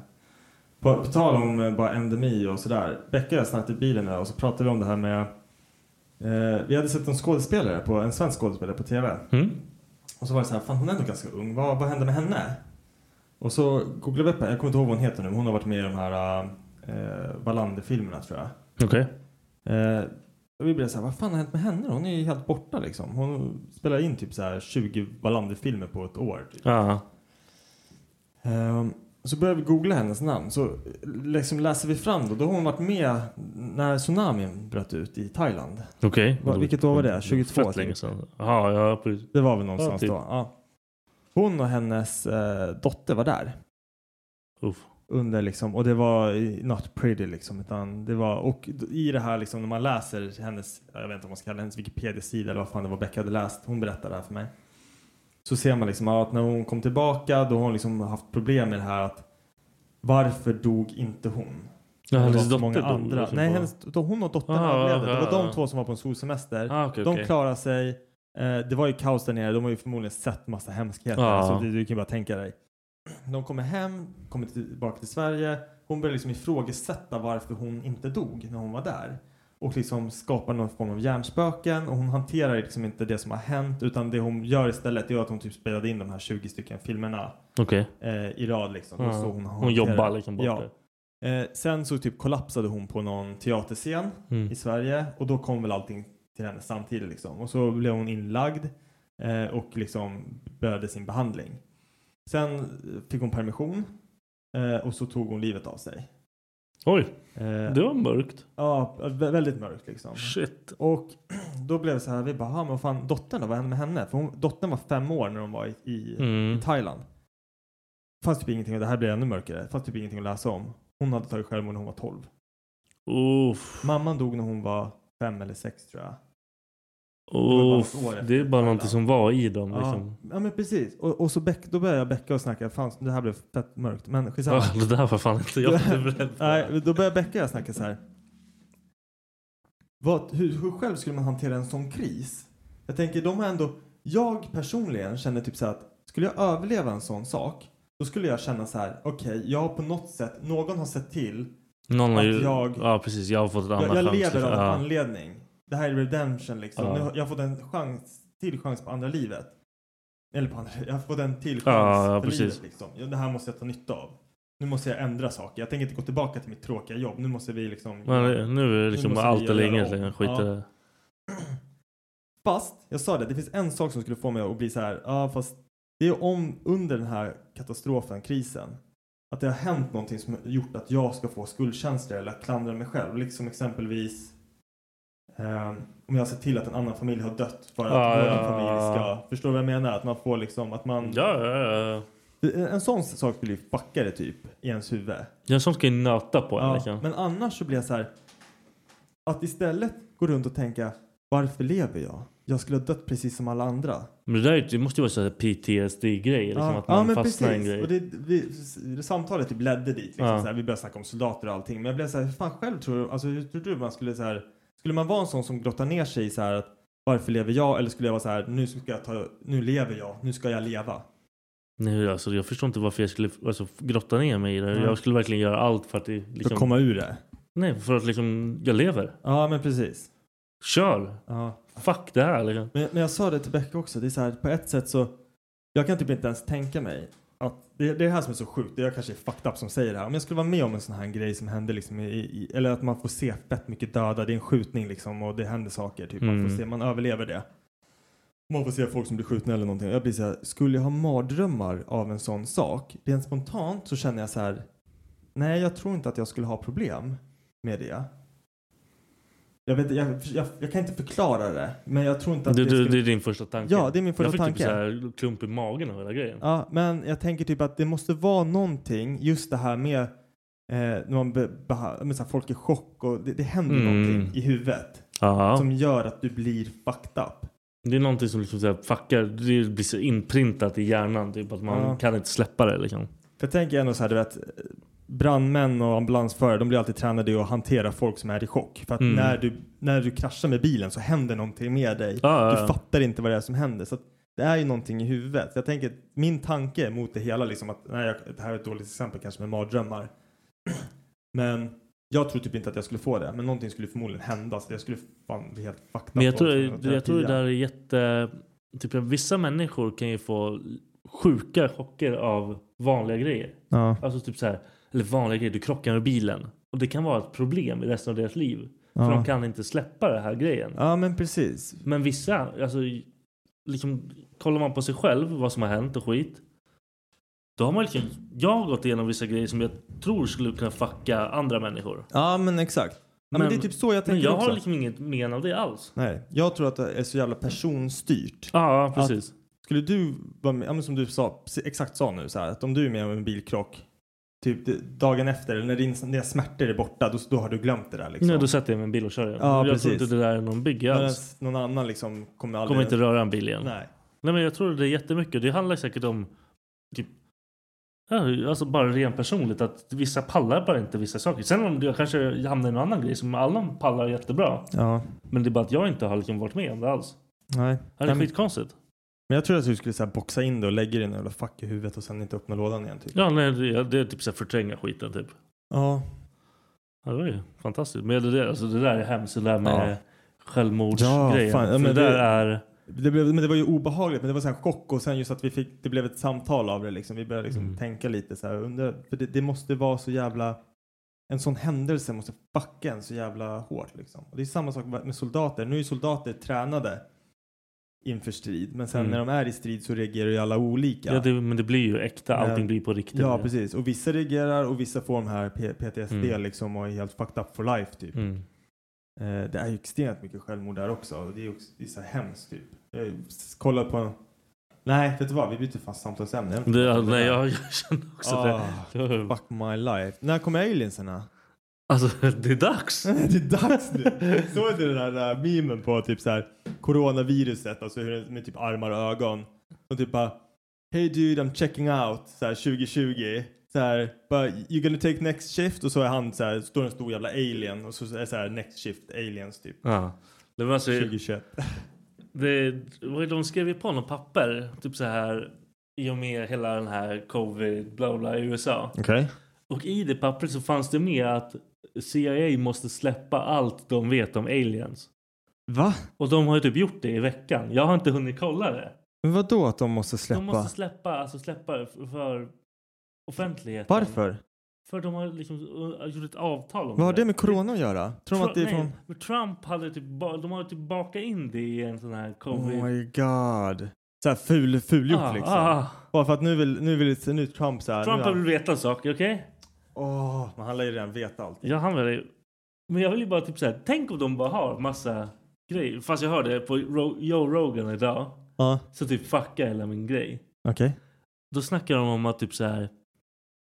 [SPEAKER 5] På, på tal om eh, bara endemi och sådär. Becka och jag snackade i bilen idag och så pratade vi om det här med, eh, vi hade sett en skådespelare, på, en svensk skådespelare på tv.
[SPEAKER 2] Mm.
[SPEAKER 5] Och så var det så här, fan hon är ändå ganska ung, vad, vad hände med henne? Och så googlade vi upp henne, jag kommer inte ihåg vad hon heter nu, men hon har varit med i de här eh, Wallander-filmerna tror jag.
[SPEAKER 2] Okej.
[SPEAKER 5] Eh, och vi blev så här, vad fan har hänt med henne då? Hon är ju helt borta liksom. Hon spelar in typ så här 20 Wallander-filmer på ett år. Typ.
[SPEAKER 2] Ja.
[SPEAKER 5] Ehm, så började vi googla hennes namn. Så eh, liksom läser vi fram då, då har hon varit med när tsunamin bröt ut i Thailand.
[SPEAKER 2] Okej.
[SPEAKER 5] Va- vilket år var det? 22
[SPEAKER 2] Fett länge
[SPEAKER 5] typ.
[SPEAKER 2] sedan. Ja, ja, precis.
[SPEAKER 5] Det var väl någonstans
[SPEAKER 2] typ.
[SPEAKER 5] då. Ja. Hon och hennes eh, dotter var där.
[SPEAKER 2] Uff.
[SPEAKER 5] under liksom och det var i- not pretty liksom utan det var och d- i det här liksom när man läser hennes jag vet inte om man ska kalla hennes Wikipedia-sida eller vad fan det var Becka hade läst hon berättade det här för mig så ser man liksom att när hon kom tillbaka då har hon liksom haft problem med det här att varför dog inte hon? Det
[SPEAKER 2] Ja,
[SPEAKER 5] var
[SPEAKER 2] hennes
[SPEAKER 5] så
[SPEAKER 2] dotter
[SPEAKER 5] många
[SPEAKER 2] dog,
[SPEAKER 5] andra.
[SPEAKER 2] liksom,
[SPEAKER 5] Nej,
[SPEAKER 2] bara.
[SPEAKER 5] hennes, då hon och dottern
[SPEAKER 2] Ah,
[SPEAKER 5] överlevde.
[SPEAKER 2] ah,
[SPEAKER 5] det var
[SPEAKER 2] ah.
[SPEAKER 5] de två som var på en solsemester.
[SPEAKER 2] Ah, okej,
[SPEAKER 5] de
[SPEAKER 2] okej.
[SPEAKER 5] klarade sig. Eh, det var ju kaos där nere. De har ju förmodligen sett massa hemskheter.
[SPEAKER 2] Ah.
[SPEAKER 5] Så det, du kan ju bara tänka dig. De kommer hem, kommer tillbaka till Sverige. Hon börjar liksom ifrågasätta varför hon inte dog när hon var där. Och liksom skapar någon form av hjärnspöken. Och hon hanterar liksom inte det som har hänt. Utan det hon gör istället är att hon typ spelade in de här 20 stycken filmerna
[SPEAKER 2] Okej.
[SPEAKER 5] eh, i rad. Liksom.
[SPEAKER 2] Ja.
[SPEAKER 5] Och så
[SPEAKER 2] Ah. Hon,
[SPEAKER 5] hon
[SPEAKER 2] jobbar
[SPEAKER 5] hanterar-
[SPEAKER 2] liksom bort
[SPEAKER 5] Ja.
[SPEAKER 2] det.
[SPEAKER 5] Eh, sen så typ kollapsade hon på någon teaterscen
[SPEAKER 2] Mm.
[SPEAKER 5] i Sverige och då kom väl allting till henne samtidigt liksom. Och så blev hon inlagd eh, och liksom började sin behandling. Sen eh, fick hon permission eh, och så tog hon livet av sig.
[SPEAKER 2] Oj,
[SPEAKER 5] Eh,
[SPEAKER 2] det var mörkt.
[SPEAKER 5] Ja, vä- väldigt mörkt liksom.
[SPEAKER 2] Shit.
[SPEAKER 5] Och då blev det så här, vi bara, "Ah, men vad fan, dottern då, vad hände med henne? För hon, dottern var fem år när de var i, i
[SPEAKER 2] Mm.
[SPEAKER 5] i Thailand. Fanns typ ingenting, och det här blir ännu mörkare, fanns typ ingenting att läsa om. Hon hade tagit självmord när hon var 12.
[SPEAKER 2] Uff.
[SPEAKER 5] Mamman dog när hon var fem eller sex tror jag. bara
[SPEAKER 2] Uff.
[SPEAKER 5] något år efter
[SPEAKER 2] Det är bara någonting
[SPEAKER 5] Thailand.
[SPEAKER 2] som var i dem
[SPEAKER 5] Ja,
[SPEAKER 2] liksom.
[SPEAKER 5] ja men precis. Och, och så bäck, då började jag bäcka och snacka, fan det här blev fett mörkt. Men skitsamma.
[SPEAKER 2] Ah, det där var fan inte jag beredd på.
[SPEAKER 5] Nej, då började Becka och jag snacka så här. Vad, hur, hur själv skulle man hantera en sån kris? Jag tänker, de har ändå... Jag personligen känner typ så här att skulle jag överleva en sån sak, då skulle jag känna så här, okej, jag har på något sätt, någon har sett till,
[SPEAKER 2] Någon har
[SPEAKER 5] att
[SPEAKER 2] ju...
[SPEAKER 5] jag-
[SPEAKER 2] Ja, precis. Jag har fått ett annat liksom.
[SPEAKER 5] jag, jag lever av en
[SPEAKER 2] ja.
[SPEAKER 5] anledning. Det här är redemption liksom.
[SPEAKER 2] Ja.
[SPEAKER 5] Nu har, jag har fått en chans, till chans på andra livet. Eller på andra, jag har fått en till chans
[SPEAKER 2] Ja, ja,
[SPEAKER 5] för
[SPEAKER 2] precis.
[SPEAKER 5] livet liksom. Ja, Det här måste jag ta nytta av. Nu måste jag ändra saker. Jag tänker inte gå tillbaka till mitt tråkiga jobb. Nu måste vi liksom...
[SPEAKER 2] Men nu är det
[SPEAKER 5] Nu
[SPEAKER 2] liksom
[SPEAKER 5] måste vi
[SPEAKER 2] allt eller
[SPEAKER 5] göra
[SPEAKER 2] inget
[SPEAKER 5] om.
[SPEAKER 2] längre. Skit i
[SPEAKER 5] Ja.
[SPEAKER 2] det.
[SPEAKER 5] Fast, jag sa det, det finns en sak som skulle få mig att bli så här, ja fast det är om under den här katastrofen, krisen, att det har hänt någonting som gjort att jag ska få skuldkänslor eller klandra mig själv. Liksom exempelvis eh, om jag ser till att en annan familj har dött för att
[SPEAKER 2] Ja,
[SPEAKER 5] vår
[SPEAKER 2] ja,
[SPEAKER 5] familj
[SPEAKER 2] ja.
[SPEAKER 5] ska, förstår du vad jag menar? Att man får liksom, att man,
[SPEAKER 2] Ja, ja, ja.
[SPEAKER 5] för En sån sak skulle ju fucka det typ i ens huvud.
[SPEAKER 2] Jag som ska ju nöta på en.
[SPEAKER 5] Ja,
[SPEAKER 2] liksom.
[SPEAKER 5] Men annars så blir jag så här. Att istället gå runt och tänka varför lever jag? Jag skulle ha dött precis som alla andra.
[SPEAKER 2] Men det, där, är ju- det måste ju vara så här PTSD-grej. Liksom, att man fastnar i en grej.
[SPEAKER 5] Och det, vi, det samtalet typ ledde dit. Liksom,
[SPEAKER 2] Ja.
[SPEAKER 5] så här, vi började snacka om soldater och allting. Men jag blev så här, hur fan själv tror du, alltså, hur tror du man skulle så här, skulle man vara en sån som grottar ner sig i så här att varför lever jag? Eller skulle jag vara så här, nu ska jag ta, nu lever jag, nu ska jag leva.
[SPEAKER 2] Nej, alltså, jag förstår inte varför jag skulle alltså, grotta ner mig i det. Jag skulle verkligen göra allt för att, det,
[SPEAKER 5] För
[SPEAKER 2] liksom,
[SPEAKER 5] att komma ur det.
[SPEAKER 2] Nej, för att liksom, jag lever.
[SPEAKER 5] Ja, men precis.
[SPEAKER 2] Kör!
[SPEAKER 5] Ja.
[SPEAKER 2] Fuck det här liksom.
[SPEAKER 5] Men, men jag sa det till Becka också, det är så här, på ett sätt så, jag kan typ inte ens tänka mig att, det, det är det här som är så sjukt, jag kanske är fucked up som säger det här, om jag skulle vara med om en sån här grej som hände liksom, i, i, eller att man får se fett mycket döda, det är en skjutning liksom och det händer saker, typ. man
[SPEAKER 2] Mm.
[SPEAKER 5] får se, man överlever det. Man får se folk som blir skjutna eller någonting. Jag blir så här, skulle jag ha mardrömmar av en sån sak? Rent spontant så känner jag så här, nej jag tror inte att jag skulle ha problem med det. Jag, vet, jag, jag, jag kan inte förklara det, men jag tror inte
[SPEAKER 2] Det,
[SPEAKER 5] att det,
[SPEAKER 2] det,
[SPEAKER 5] skulle...
[SPEAKER 2] det är din första tanke.
[SPEAKER 5] Ja, det är min första
[SPEAKER 2] jag fick
[SPEAKER 5] tanke.
[SPEAKER 2] typ så här klump i magen av hela grejen.
[SPEAKER 5] Ja, men jag tänker typ att det måste vara någonting, just det här med eh, när man be, beha- men så här, folk är i chock och det, det händer
[SPEAKER 2] Mm.
[SPEAKER 5] någonting i huvudet
[SPEAKER 2] Ja.
[SPEAKER 5] som gör att du blir fucked up.
[SPEAKER 2] Det är någonting som liksom så här, fuckar, det blir så inprintat i hjärnan. Typ, att man
[SPEAKER 5] Ja.
[SPEAKER 2] kan inte släppa det. Liksom.
[SPEAKER 5] För jag tänker ändå så här, du vet, brandmän och ambulansförare, de blir alltid tränade i att hantera folk som är i chock. För att
[SPEAKER 2] Mm.
[SPEAKER 5] när, du, när du kraschar med bilen så händer någonting med dig.
[SPEAKER 2] Ja, ja,
[SPEAKER 5] Du
[SPEAKER 2] ja.
[SPEAKER 5] fattar inte vad det är som händer. Så att det är ju någonting i huvudet. Jag tänker, att min tanke mot det hela, liksom att, nej, jag, det här är ett dåligt exempel kanske med mardrömmar. Men jag tror typ inte att jag skulle få det. Men någonting skulle förmodligen hända. Så jag skulle fan bli helt fucked
[SPEAKER 2] Men
[SPEAKER 5] up
[SPEAKER 2] jag
[SPEAKER 5] av
[SPEAKER 2] tror,
[SPEAKER 5] terapi.
[SPEAKER 2] jag tror det där är jätte... Typ, vissa människor kan ju få sjuka chocker av vanliga grejer.
[SPEAKER 5] Ja,
[SPEAKER 2] Alltså typ så här, eller vanliga grejer, du krockar med bilen. Och det kan vara ett problem i resten av deras liv. För de
[SPEAKER 5] ja.
[SPEAKER 2] kan inte släppa den här grejen.
[SPEAKER 5] ja, men precis.
[SPEAKER 2] Men vissa, alltså liksom kollar man på sig själv, vad som har hänt och skit. Då har man liksom, jag har gått igenom vissa grejer som jag tror skulle kunna fucka andra människor.
[SPEAKER 5] Ja, men exakt. Ja, men,
[SPEAKER 2] Men-
[SPEAKER 5] det är typ så jag
[SPEAKER 2] Men
[SPEAKER 5] tänker
[SPEAKER 2] jag
[SPEAKER 5] också.
[SPEAKER 2] har liksom inget men av det alls.
[SPEAKER 5] Nej, jag tror att det är så jävla personstyrt.
[SPEAKER 2] Ja, precis.
[SPEAKER 5] Skulle du vara med, ja, men som du sa, precis- exakt sa nu så här, att om du är med om en bilkrock typ det- dagen efter eller när din, dina smärtor är borta då, då har du glömt det där liksom.
[SPEAKER 2] Nej, då sätter jag mig i en bil och kör igen.
[SPEAKER 5] Ja,
[SPEAKER 2] jag tror
[SPEAKER 5] precis.
[SPEAKER 2] inte det där är någon big
[SPEAKER 5] Medan
[SPEAKER 2] alls.
[SPEAKER 5] någon annan liksom kommer aldrig...
[SPEAKER 2] Kommer inte röra en bil igen.
[SPEAKER 5] Nej.
[SPEAKER 2] Nej men jag tror det är jättemycket. Det handlar säkert om typ, ja, alltså bara rent personligt att vissa pallar bara inte vissa saker. Sen om jag kanske hamnar i någon annan grej som alla pallar jättebra.
[SPEAKER 5] Ja.
[SPEAKER 2] Men det är bara att jag inte har liksom varit med om det alls.
[SPEAKER 5] Nej.
[SPEAKER 2] Det
[SPEAKER 5] Nej,
[SPEAKER 2] är
[SPEAKER 5] men,
[SPEAKER 2] skitkonstigt.
[SPEAKER 5] men jag tror att du skulle så här, boxa in det och lägga det i en jävla fack i huvudet och sen inte öppna lådan igen typ.
[SPEAKER 2] Ja, nej, det, det är typ så här förtränga skiten typ.
[SPEAKER 5] Ja.
[SPEAKER 2] Ja, det var ju fantastiskt. Men det, där- alltså, det där är hemskt. Det där med
[SPEAKER 5] Ja.
[SPEAKER 2] självmordsgrejen.
[SPEAKER 5] Ja, fan. Ja,
[SPEAKER 2] För det
[SPEAKER 5] men
[SPEAKER 2] där
[SPEAKER 5] det-
[SPEAKER 2] är...
[SPEAKER 5] Det, blev, men det var ju obehagligt men det var så här chock och sen just att vi fick, det blev ett samtal av det liksom. Vi började liksom
[SPEAKER 2] Mm.
[SPEAKER 5] tänka lite så här, undra, för det, det måste vara så jävla, en sån händelse måste fucka en så jävla hårt liksom. Och det är samma sak med soldater, nu är soldater tränade inför strid men sen
[SPEAKER 2] Mm.
[SPEAKER 5] när de är i strid så reagerar ju alla olika.
[SPEAKER 2] Ja. det, men det blir ju äkta. Allting
[SPEAKER 5] Men-
[SPEAKER 2] blir på riktigt.
[SPEAKER 5] Ja, precis. Och vissa reagerar och vissa får de här P- PTSD
[SPEAKER 2] Mm.
[SPEAKER 5] liksom och är helt fucked up for life typ.
[SPEAKER 2] Mm.
[SPEAKER 5] Eh, det är ju extremt mycket självmord där också. Och det är ju också, det är så här hemskt typ. Jag kollade på... Nej, vet du vad? Vi byter fast samtalsämne.
[SPEAKER 2] Det, ja, nej, jag, jag känner också
[SPEAKER 5] Ah,
[SPEAKER 2] det. det. var-
[SPEAKER 5] Fuck my life. När kommer aliensarna?
[SPEAKER 2] Alltså, det är dags.
[SPEAKER 5] det är dags nu. Såg du den här, där memen på typ så här coronaviruset, alltså hur den- med typ armar och ögon. Och typ bara Hey dude I'm checking out så här 2020. Så här, bara, you gonna take next shift? Och så är han så här, står en stor jävla alien och så är det så här next shift aliens typ.
[SPEAKER 2] Ja. Det var alltså,
[SPEAKER 5] 2021.
[SPEAKER 2] det, vad- de skrev ju på något papper, typ så här i och med hela den här covid bla bla i USA.
[SPEAKER 5] Okej.
[SPEAKER 2] Och i det pappret så fanns det med att CIA måste släppa allt de vet om aliens.
[SPEAKER 5] Va?
[SPEAKER 2] Och de har ju typ gjort det i veckan. Jag har inte hunnit kolla det.
[SPEAKER 5] Men vadå att de måste släppa?
[SPEAKER 2] De måste släppa, alltså släppa f- för offentligheten.
[SPEAKER 5] Varför?
[SPEAKER 2] För de har liksom uh, gjort ett avtal om
[SPEAKER 5] Vad har det med corona att göra? Tror de
[SPEAKER 2] Tru-
[SPEAKER 5] att det är
[SPEAKER 2] nej,
[SPEAKER 5] från...
[SPEAKER 2] men Trump hade typ, ba- de har typ bakat in det i en sån här
[SPEAKER 5] Oh
[SPEAKER 2] covid...
[SPEAKER 5] my god. Så här ful, fulgjort
[SPEAKER 2] Ah,
[SPEAKER 5] liksom.
[SPEAKER 2] ah.
[SPEAKER 5] Bara för att nu vill, nu vill nu är Trump så här.
[SPEAKER 2] Trump
[SPEAKER 5] nu är
[SPEAKER 2] har
[SPEAKER 5] han-
[SPEAKER 2] väl vetat saker, okej?
[SPEAKER 5] Åh, men han lär ju redan veta allt.
[SPEAKER 2] Ja, han vill ju... Men jag vill ju bara typ såhär, tänk om de bara har massa grejer. Fast jag hörde på Ro- Joe Rogan idag,
[SPEAKER 5] Ja,
[SPEAKER 2] så typ fucka hela min grej.
[SPEAKER 5] okej.
[SPEAKER 2] Då snackar de om att typ så här.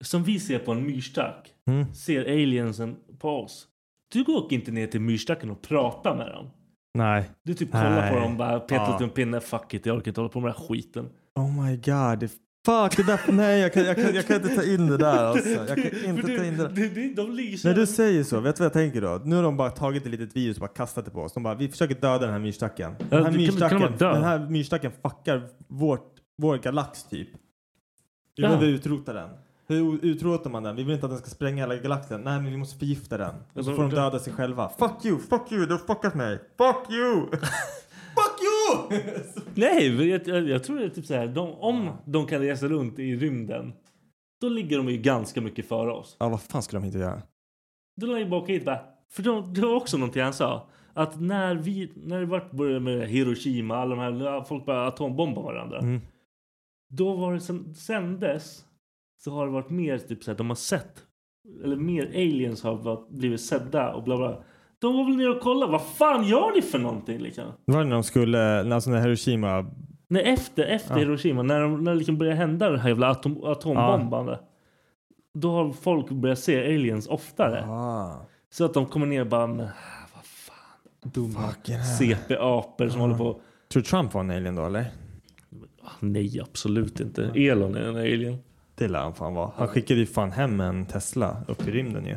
[SPEAKER 2] Som vi ser på en myrstack.
[SPEAKER 4] Mm.
[SPEAKER 2] Ser aliensen på oss. Du går inte ner till myrstacken och pratar med dem.
[SPEAKER 4] Nej.
[SPEAKER 2] Du typ kollar
[SPEAKER 4] Nej.
[SPEAKER 2] på dem och bara petar
[SPEAKER 4] Ja.
[SPEAKER 2] lite med pinne. Fuck it, jag orkar inte hålla på med den här skiten.
[SPEAKER 4] Oh my god. det- Fuck, det där, nej jag kan, jag, kan, jag kan inte ta in det där alltså. Jag kan inte
[SPEAKER 2] För du,
[SPEAKER 4] ta in det där.
[SPEAKER 2] du, du, De lyser.
[SPEAKER 4] När du säger så, vet du vad jag tänker då? Nu har de bara tagit ett litet virus och bara kastat det på oss. De bara, vi försöker döda den här myrstacken. Den här
[SPEAKER 2] det kan-
[SPEAKER 4] myrstacken,
[SPEAKER 2] kan de bara dö?
[SPEAKER 4] den här myrstacken fuckar vårt, vår galax typ. Vi
[SPEAKER 2] Ja.
[SPEAKER 4] behöver utrota den. Hur utrotar man den? Vi vill inte att den ska spränga hela galaxen. Nej, men vi måste förgifta den. Och så
[SPEAKER 2] de-
[SPEAKER 4] får de
[SPEAKER 2] de-
[SPEAKER 4] döda sig själva. Fuck you, fuck you, du har fuckat mig. Fuck you! fuck you!
[SPEAKER 2] Nej, men jag, jag, jag tror det är typ så här. De, om de kan resa runt i rymden. Då ligger de ju ganska mycket före oss.
[SPEAKER 4] ja, vad fan skulle de inte göra?
[SPEAKER 2] Då la jag bara åka hit bara. För de, det var också någonting han sa. Att när vi, när det vart- började med Hiroshima, alla de här, folk började atombomba varandra.
[SPEAKER 4] Mm.
[SPEAKER 2] Då var det sen, sen dess så har det varit mer typ så här, de har sett. Eller mer aliens har varit- blivit sedda och bla bla. De var väl nere och kollade, vad fan gör ni för någonting liksom?
[SPEAKER 4] Det var när de skulle, alltså när Hiroshima...
[SPEAKER 2] Nej, efter, efter
[SPEAKER 4] Ja.
[SPEAKER 2] Hiroshima, när, de, när det liksom började hända det här jävla atom, atombombande. Då har folk börjat se aliens oftare.
[SPEAKER 4] Ah,
[SPEAKER 2] Så att de kommer ner och bara, men, ah, vad fan, dumma
[SPEAKER 4] fucking hell.
[SPEAKER 2] CP-apor som håller på.
[SPEAKER 4] Tror du Trump var en alien då eller?
[SPEAKER 2] Ah, nej, absolut inte. Elon är en alien.
[SPEAKER 4] Det lär han fan vara. Han skickade ju fan hem en Tesla upp i rymden ju.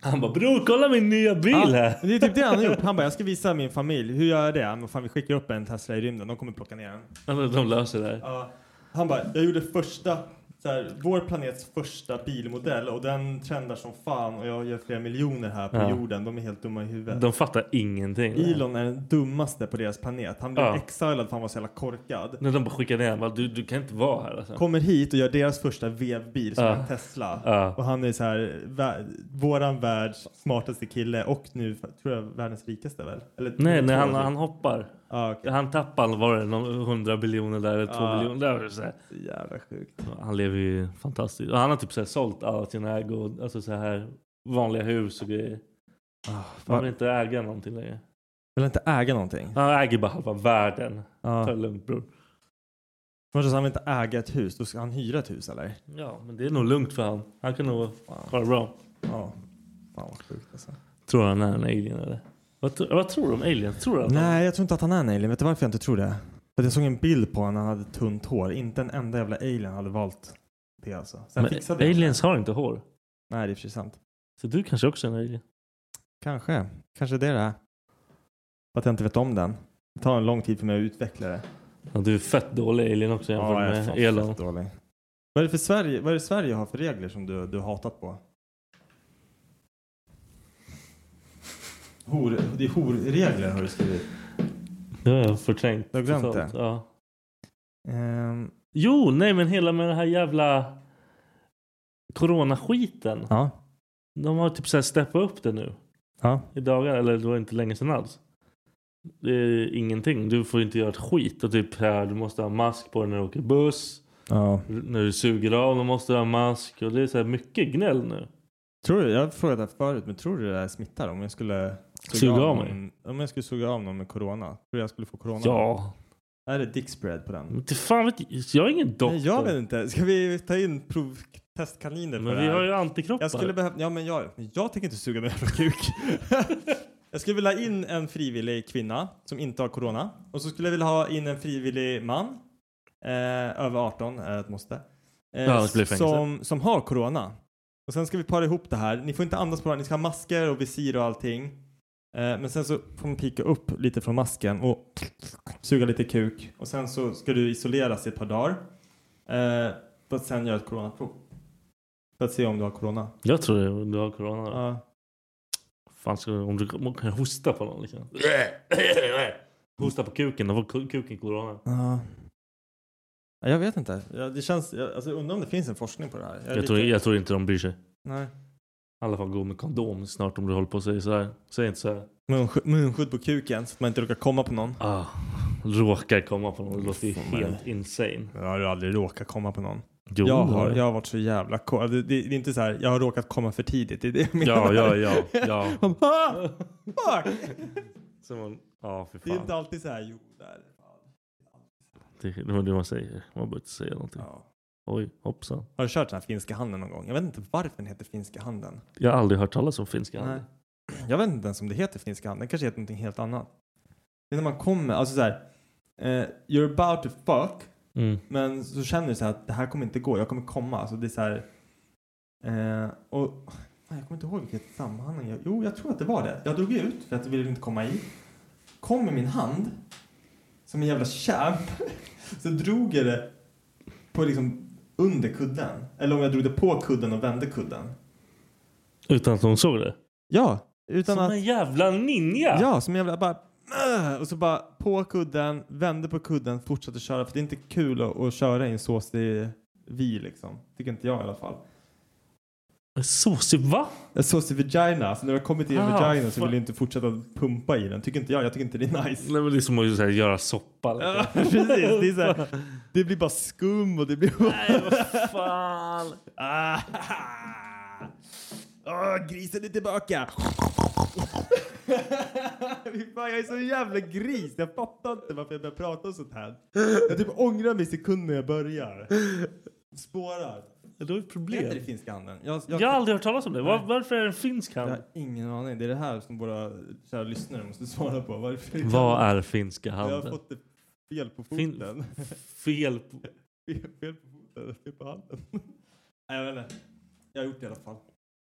[SPEAKER 2] Han bara, bror kolla min nya bil här.
[SPEAKER 4] det är typ det han har gjort. Han bara, jag ska visa min familj. Hur gör jag det? Ja, Men fan, vi skickar upp en Tesla i rymden. De kommer plocka ner den.
[SPEAKER 2] Han, de löser det här.
[SPEAKER 4] Ja. Han bara, jag gjorde första, så här, vår planets första bilmodell och den trendar som fan och jag gör flera miljoner här på
[SPEAKER 2] Ja.
[SPEAKER 4] jorden. De är helt dumma i huvudet.
[SPEAKER 2] De fattar ingenting.
[SPEAKER 4] Elon är den dummaste på deras planet. Han blev
[SPEAKER 2] Ja.
[SPEAKER 4] exilad för han var så jävla korkad.
[SPEAKER 2] När de bara skickar ner honom, du, du kan inte vara här alltså.
[SPEAKER 4] Kommer hit och gör deras första vevbil som
[SPEAKER 2] Ja.
[SPEAKER 4] en Tesla.
[SPEAKER 2] Ja.
[SPEAKER 4] Och han är så här, vä- våran världs smartaste kille och nu tror jag världens rikaste väl? Eller,
[SPEAKER 2] Nej, när han,
[SPEAKER 4] Tror jag.
[SPEAKER 2] han hoppar.
[SPEAKER 4] Ja, okej.
[SPEAKER 2] Han tappar, var det någon 100 biljoner där, eller 2
[SPEAKER 4] Ja.
[SPEAKER 2] biljoner där. och Så här.
[SPEAKER 4] Så jävla sjukt.
[SPEAKER 2] Han lever ju fantastiskt. Och han har typ så här sålt alla sina ägor, alltså så här vanliga hus och grejer. Han vill inte äga någonting längre.
[SPEAKER 4] Vill inte äga någonting?
[SPEAKER 2] Han äger bara halva världen. Ta det
[SPEAKER 4] Ja.
[SPEAKER 2] lugnt bror.
[SPEAKER 4] Först så han vill inte äga ett hus, då ska han hyra ett hus eller?
[SPEAKER 2] Ja, men det är nog lugnt för han. Han kan nog ha det bra.
[SPEAKER 4] Ja. Fan vad sjukt alltså.
[SPEAKER 2] Tror han är en alien eller? Vad, tro- vad tror du om alien? Tror du att
[SPEAKER 4] Nej, jag tror inte att han är en alien. Vet du varför jag inte tror det? För att jag såg en bild på honom när han hade tunt hår. Inte en enda jävla alien hade valt det alltså. Sen
[SPEAKER 2] han...
[SPEAKER 4] fixade
[SPEAKER 2] Men
[SPEAKER 4] jag det.
[SPEAKER 2] aliens har inte hår.
[SPEAKER 4] Nej, det är för sig sant.
[SPEAKER 2] Så du kanske också är en alien?
[SPEAKER 4] Kanske. Kanske det är det är. För att jag inte vet om den. Det tar en lång tid för mig att utveckla det.
[SPEAKER 2] Ja, du är fett dålig alien också jämfört
[SPEAKER 4] jag är
[SPEAKER 2] med
[SPEAKER 4] fan
[SPEAKER 2] Elon.
[SPEAKER 4] fett dålig. Vad är det för Sverige, vad är det Sverige har för regler som du, du har hatat på? Hor, det är horregler har du skrivit.
[SPEAKER 2] Det har jag förträngt.
[SPEAKER 4] Du har glömt
[SPEAKER 2] totalt.
[SPEAKER 4] det?
[SPEAKER 2] Ja.
[SPEAKER 4] Ehm,
[SPEAKER 2] Jo, nej men hela med den här jävla coronaskiten.
[SPEAKER 4] ja.
[SPEAKER 2] De har typ så här steppat upp det nu.
[SPEAKER 4] Ja.
[SPEAKER 2] I dagar, eller det var inte länge sedan alls. Det är ingenting. Du får inte göra ett skit. Och typ här, du måste ha mask på dig när du åker buss.
[SPEAKER 4] ja.
[SPEAKER 2] När du suger av, då måste du ha mask. Och det är så här mycket gnäll nu.
[SPEAKER 4] Tror du, jag har frågat det här förut, men tror du det här smittar? Om jag skulle suga
[SPEAKER 2] Suga av mig?
[SPEAKER 4] någon, Om jag skulle suga av någon med corona, tror du jag skulle få corona?
[SPEAKER 2] Ja.
[SPEAKER 4] Är det dick spread på den?
[SPEAKER 2] Men till fan vet jag. Jag är ingen doktor.
[SPEAKER 4] Nej, jag vet inte. Ska vi ta in provtestkaniner på
[SPEAKER 2] Men
[SPEAKER 4] det
[SPEAKER 2] vi
[SPEAKER 4] här?
[SPEAKER 2] har ju antikroppar.
[SPEAKER 4] Jag skulle behöva, ja men jag, men jag tänker inte suga mig från kuk. jag skulle vilja ha in en frivillig kvinna som inte har corona. Och så skulle jag vilja ha in en frivillig man. Eh, över 18 är ett måste. Eh,
[SPEAKER 2] Ja, det blir fängelse.
[SPEAKER 4] som, som har corona. Och sen ska vi para ihop det här. Ni får inte andas på varandra, ni ska ha masker och visir och allting. Eh, men sen så får man pika upp lite från masken och suga lite kuk. Och sen så ska du isoleras i ett par dagar. Eh, för att sen göra ett coronaprov. För att se om du har corona.
[SPEAKER 2] Jag tror det, du har corona.
[SPEAKER 4] Ja.
[SPEAKER 2] Fan, ska, om du om du kan hosta på någon liksom. hosta på kuken, då får ku- kuken corona.
[SPEAKER 4] Ja. Ja, Jag vet inte. Ja, det känns, jag, alltså, jag undrar om det finns en forskning på det här. är
[SPEAKER 2] Jag
[SPEAKER 4] lite-
[SPEAKER 2] tror, jag tror inte de bryr sig. I
[SPEAKER 4] Nej.
[SPEAKER 2] alla fall gå med kondom snart om du håller på och säger så här. Säg inte så här.
[SPEAKER 4] Munsky- munskydd på kuken så att man inte råkar komma på någon.
[SPEAKER 2] Ah, råkar komma på någon. Det låter ju
[SPEAKER 4] Fan, vad är
[SPEAKER 2] helt insane.
[SPEAKER 4] Jag har aldrig råkat komma på någon.
[SPEAKER 2] Jo,
[SPEAKER 4] jag, har, jag har varit så jävla ko- alltså, det, det, det är inte så här, jag har råkat komma för tidigt. Det är det jag menar.
[SPEAKER 2] ja, ja, ja. ja.
[SPEAKER 4] Man bara, "Ah, fuck!
[SPEAKER 2] Så man, ja, för
[SPEAKER 4] Det är
[SPEAKER 2] fan.
[SPEAKER 4] inte alltid så här, jo, där.
[SPEAKER 2] Det, det var det man säger. Man behöver inte säga någonting.
[SPEAKER 4] Ja.
[SPEAKER 2] Oj, hoppsan.
[SPEAKER 4] Har du kört den här finska handen någon gång? Jag vet inte varför den heter finska handen.
[SPEAKER 2] Jag har aldrig hört talas om finska handen.
[SPEAKER 4] Nej. Jag vet inte ens om det heter finska handen. Det kanske heter någonting helt annat. Det är när man kommer, alltså så här. Eh, you're about to fuck.
[SPEAKER 2] Mm.
[SPEAKER 4] Men så känner du så här att det här kommer inte gå. Jag kommer komma. Alltså det är så här. Eh, och fan, jag kommer inte ihåg vilket sammanhang jag... Jo, jag tror att det var det. Jag drog ut för att jag ville inte komma i. Kom med min hand. Som en jävla kämp. så drog jag det på liksom under kudden. Eller om jag drog det på kudden och vände kudden.
[SPEAKER 2] Utan att hon såg det?
[SPEAKER 4] Ja, utan
[SPEAKER 2] Som
[SPEAKER 4] att...
[SPEAKER 2] en jävla ninja!
[SPEAKER 4] Ja, som en jävla bara... "Åh!" Och så bara på kudden, vände på kudden, fortsatte köra. För det är inte kul att, att köra i en såsig vi liksom. Tycker inte jag i alla fall.
[SPEAKER 2] Såsig, va?
[SPEAKER 4] En såsig vagina. Så när du har kommit i en
[SPEAKER 2] Ah,
[SPEAKER 4] vagina så
[SPEAKER 2] fan.
[SPEAKER 4] vill du inte fortsätta pumpa i den. Tycker inte jag. Jag tycker inte det är nice.
[SPEAKER 2] Nej, men det är som att så här, göra soppa.
[SPEAKER 4] Ja,
[SPEAKER 2] Liksom.
[SPEAKER 4] precis. Det, är så här, det blir bara skum och det blir...
[SPEAKER 2] Nej, vad fan!
[SPEAKER 4] Ah, Åh, grisen är tillbaka! Fy fan, jag är så jävla gris. Jag fattar inte varför jag börjar prata om sånt här. Jag typ ångrar mig i sekunden när jag börjar. Spårar.
[SPEAKER 2] Det var ett
[SPEAKER 4] Heter det
[SPEAKER 2] problem.
[SPEAKER 4] finska handen? Jag,
[SPEAKER 2] Jag har aldrig hört talas om det. Var, varför är det en finsk
[SPEAKER 4] jag
[SPEAKER 2] hand?
[SPEAKER 4] har ingen aning. Det är det här som våra kära lyssnare måste svara på. Varför
[SPEAKER 2] Vad är finska
[SPEAKER 4] Jag har
[SPEAKER 2] handen?
[SPEAKER 4] fått det fel på
[SPEAKER 2] Fin-
[SPEAKER 4] foten.
[SPEAKER 2] Fel på...
[SPEAKER 4] Fel, fel på foten. Fel på handen. Nej, jag vet inte. Jag har gjort det i alla fall.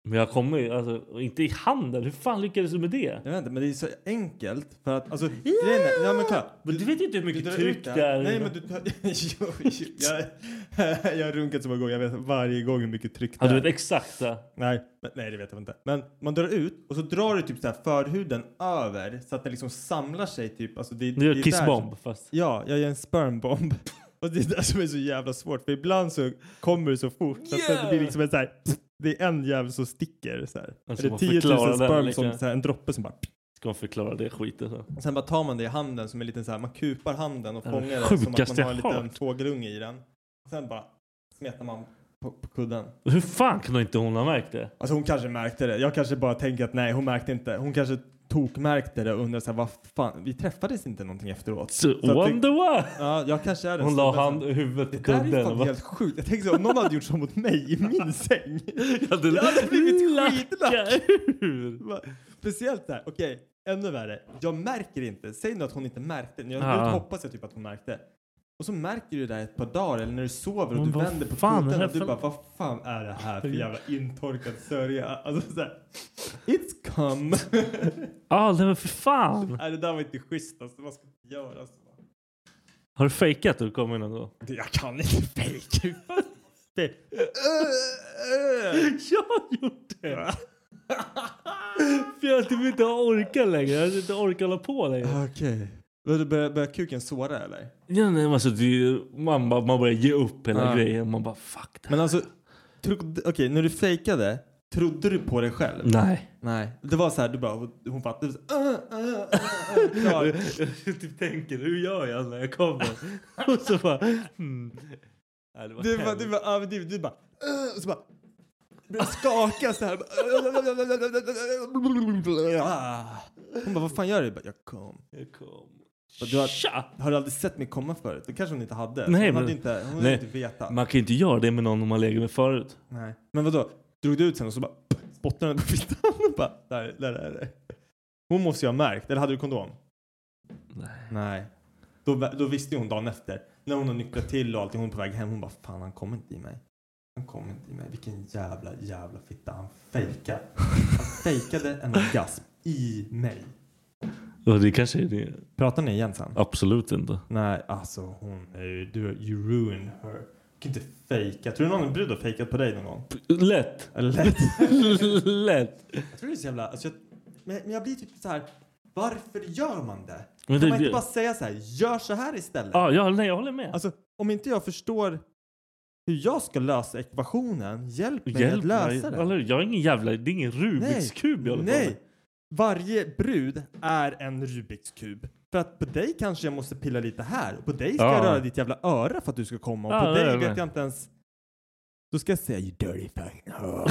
[SPEAKER 2] Men jag kommer ju alltså, inte i handen. Hur fan lyckades du med det?
[SPEAKER 4] Jag vet inte, men det är så enkelt för att alltså, grejen är, ja men kolla.
[SPEAKER 2] Men du vet ju inte hur mycket
[SPEAKER 4] drar
[SPEAKER 2] tryck
[SPEAKER 4] ut
[SPEAKER 2] det är.
[SPEAKER 4] Nej men du, tar- jo, jo, jag, jag har runkat så många gånger, jag vet varje gång hur mycket tryck det
[SPEAKER 2] Ja, du
[SPEAKER 4] är.
[SPEAKER 2] vet exakt. ja.
[SPEAKER 4] nej, men- nej det vet jag inte. Men man drar ut och så drar du typ så här förhuden över så att den liksom samlar sig typ. Alltså, det,
[SPEAKER 2] Du
[SPEAKER 4] det
[SPEAKER 2] gör
[SPEAKER 4] är
[SPEAKER 2] kissbomb
[SPEAKER 4] där-
[SPEAKER 2] fast.
[SPEAKER 4] Ja, jag gör en spermbomb. Och det är det som är så jävla svårt för ibland så kommer det så fort så att det blir liksom en så här, det är en jävel som sticker så här.
[SPEAKER 2] Alltså,
[SPEAKER 4] Eller
[SPEAKER 2] man
[SPEAKER 4] 10 000
[SPEAKER 2] förklarar den,
[SPEAKER 4] sperm
[SPEAKER 2] liksom.
[SPEAKER 4] som så här, en droppe som bara
[SPEAKER 2] Ska man förklara det skiten sen.
[SPEAKER 4] och Sen bara tar man det i handen som en liten så här, man kupar handen och
[SPEAKER 2] Det är det
[SPEAKER 4] fångar den som att
[SPEAKER 2] sjukaste
[SPEAKER 4] man har en
[SPEAKER 2] jag har
[SPEAKER 4] liten
[SPEAKER 2] hört.
[SPEAKER 4] fågelunge i den. Och sen bara smetar man på, på kudden.
[SPEAKER 2] Hur fan kunde inte hon ha märkt det?
[SPEAKER 4] Alltså hon kanske märkte det. Jag kanske bara tänker att nej, hon märkte inte. Hon kanske tokmärkte det och undrade så här, vad fan, vi träffades inte någonting efteråt.
[SPEAKER 2] Så
[SPEAKER 4] att det-
[SPEAKER 2] wonder why!
[SPEAKER 4] Ja, jag kanske är den
[SPEAKER 2] Hon la
[SPEAKER 4] snubben som-
[SPEAKER 2] hand, huvudet på
[SPEAKER 4] Det där är
[SPEAKER 2] kudden. och
[SPEAKER 4] fan
[SPEAKER 2] bara-
[SPEAKER 4] helt sjukt. Jag tänker så, om någon hade gjort så mot mig i min säng.
[SPEAKER 2] Ja, det
[SPEAKER 4] Jag hade blivit skitlack.
[SPEAKER 2] lackar ur.
[SPEAKER 4] Va? Speciellt där, okej, ännu värre. Jag märker inte. Säg nu att hon inte märkte. Jag
[SPEAKER 2] Ja.
[SPEAKER 4] ah. hoppas jag typ att hon märkte. Och så märker du det där ett par dagar eller när du sover och
[SPEAKER 2] Men
[SPEAKER 4] du
[SPEAKER 2] vad
[SPEAKER 4] vänder på
[SPEAKER 2] fan är
[SPEAKER 4] kudden
[SPEAKER 2] det
[SPEAKER 4] och du
[SPEAKER 2] för-
[SPEAKER 4] bara vad fan är det här för jävla intorkad sörja? Alltså såhär, it's come.
[SPEAKER 2] Ja, Ah, nej, men för fan.
[SPEAKER 4] Nej det där var inte schysst alltså, vad ska man göra? Alltså?
[SPEAKER 2] Har du fejkat att du kom in ändå?
[SPEAKER 4] Det- Jag kan inte fejka. Det-
[SPEAKER 2] Jag har gjort det! För jag typ inte har orkat längre. Jag har inte orkat hålla på längre.
[SPEAKER 4] Okej. Okay. Börjar börjar kuken såra eller?
[SPEAKER 2] Ja, nej, men alltså, det är ju, man, bara- man börjar ge upp hela
[SPEAKER 4] Ja.
[SPEAKER 2] grejen. Man bara fuck det här.
[SPEAKER 4] Men alltså, trodde- okej när du fejkade, trodde du på dig själv?
[SPEAKER 2] Nej.
[SPEAKER 4] Nej. Det var så här, du bara, hon fattade. Du så, "Äh, äh, äh, äh, klar."
[SPEAKER 2] Jag typ tänker hur gör jag när jag kommer? Och så bara... Mm. Nej, det var
[SPEAKER 4] du bara,
[SPEAKER 2] hemskt.
[SPEAKER 4] du bara, överdrivet. Du bara, "Äh", och så bara. Började skaka så här.
[SPEAKER 2] Ah.
[SPEAKER 4] bara, Hon bara, vad fan gör du? Jag bara, Jag kom.
[SPEAKER 2] Jag kom.
[SPEAKER 4] Och du har-
[SPEAKER 2] Tja!
[SPEAKER 4] Har du aldrig sett mig komma förut? Det kanske hon inte
[SPEAKER 2] Nej,
[SPEAKER 4] hade. hon
[SPEAKER 2] men-
[SPEAKER 4] hade inte, hon hade
[SPEAKER 2] nej.
[SPEAKER 4] inte vetat.
[SPEAKER 2] Man kan ju inte göra det med någon man lägger med förut.
[SPEAKER 4] Nej. Men vadå? Drog du ut sen och så bara spottade hon på fittan och bara, där, där är det. Hon måste ju ha märkt. Eller hade du kondom?
[SPEAKER 2] Nej.
[SPEAKER 4] Nej. Då, då visste ju hon dagen efter. När hon har nycklat till och allting. Hon är på väg hem. Hon bara fan han kommer inte i mig. Han kommer inte i mig. Vilken jävla jävla fitta. Han fejkade. Han fejkade en orgasm i mig.
[SPEAKER 2] Och det kanske är det.
[SPEAKER 4] Pratar ni igen sen?
[SPEAKER 2] Absolut inte.
[SPEAKER 4] Nej alltså hon är ju. Du you ruin her. Du kan inte fejka. Tror du någon brud har fejkat på dig någon gång?
[SPEAKER 2] Lätt!
[SPEAKER 4] Eller lätt?
[SPEAKER 2] Lätt!
[SPEAKER 4] Jag tror det är så jävla. Alltså, jag, men, men jag blir typ så här. Varför gör man det?
[SPEAKER 2] Men
[SPEAKER 4] Kan
[SPEAKER 2] det-
[SPEAKER 4] man inte bara säga så här. Gör så här istället.
[SPEAKER 2] Ja, ja, nej, jag håller med.
[SPEAKER 4] Alltså, om inte jag förstår hur jag ska lösa ekvationen, hjälp mig att lösa
[SPEAKER 2] mig.
[SPEAKER 4] den.
[SPEAKER 2] Eller hur? Jag är ingen jävla... Det är ingen Rubiks kub jag håller på med.
[SPEAKER 4] Nej! Varje brud är en Rubiks kub. För att på dig kanske jag måste pilla lite här och på dig ska
[SPEAKER 2] Ja.
[SPEAKER 4] jag röra ditt jävla öra för att du ska komma och
[SPEAKER 2] Ja,
[SPEAKER 4] på
[SPEAKER 2] det är
[SPEAKER 4] dig
[SPEAKER 2] det.
[SPEAKER 4] vet jag inte ens... Då ska jag säga you dirty fucking hoe.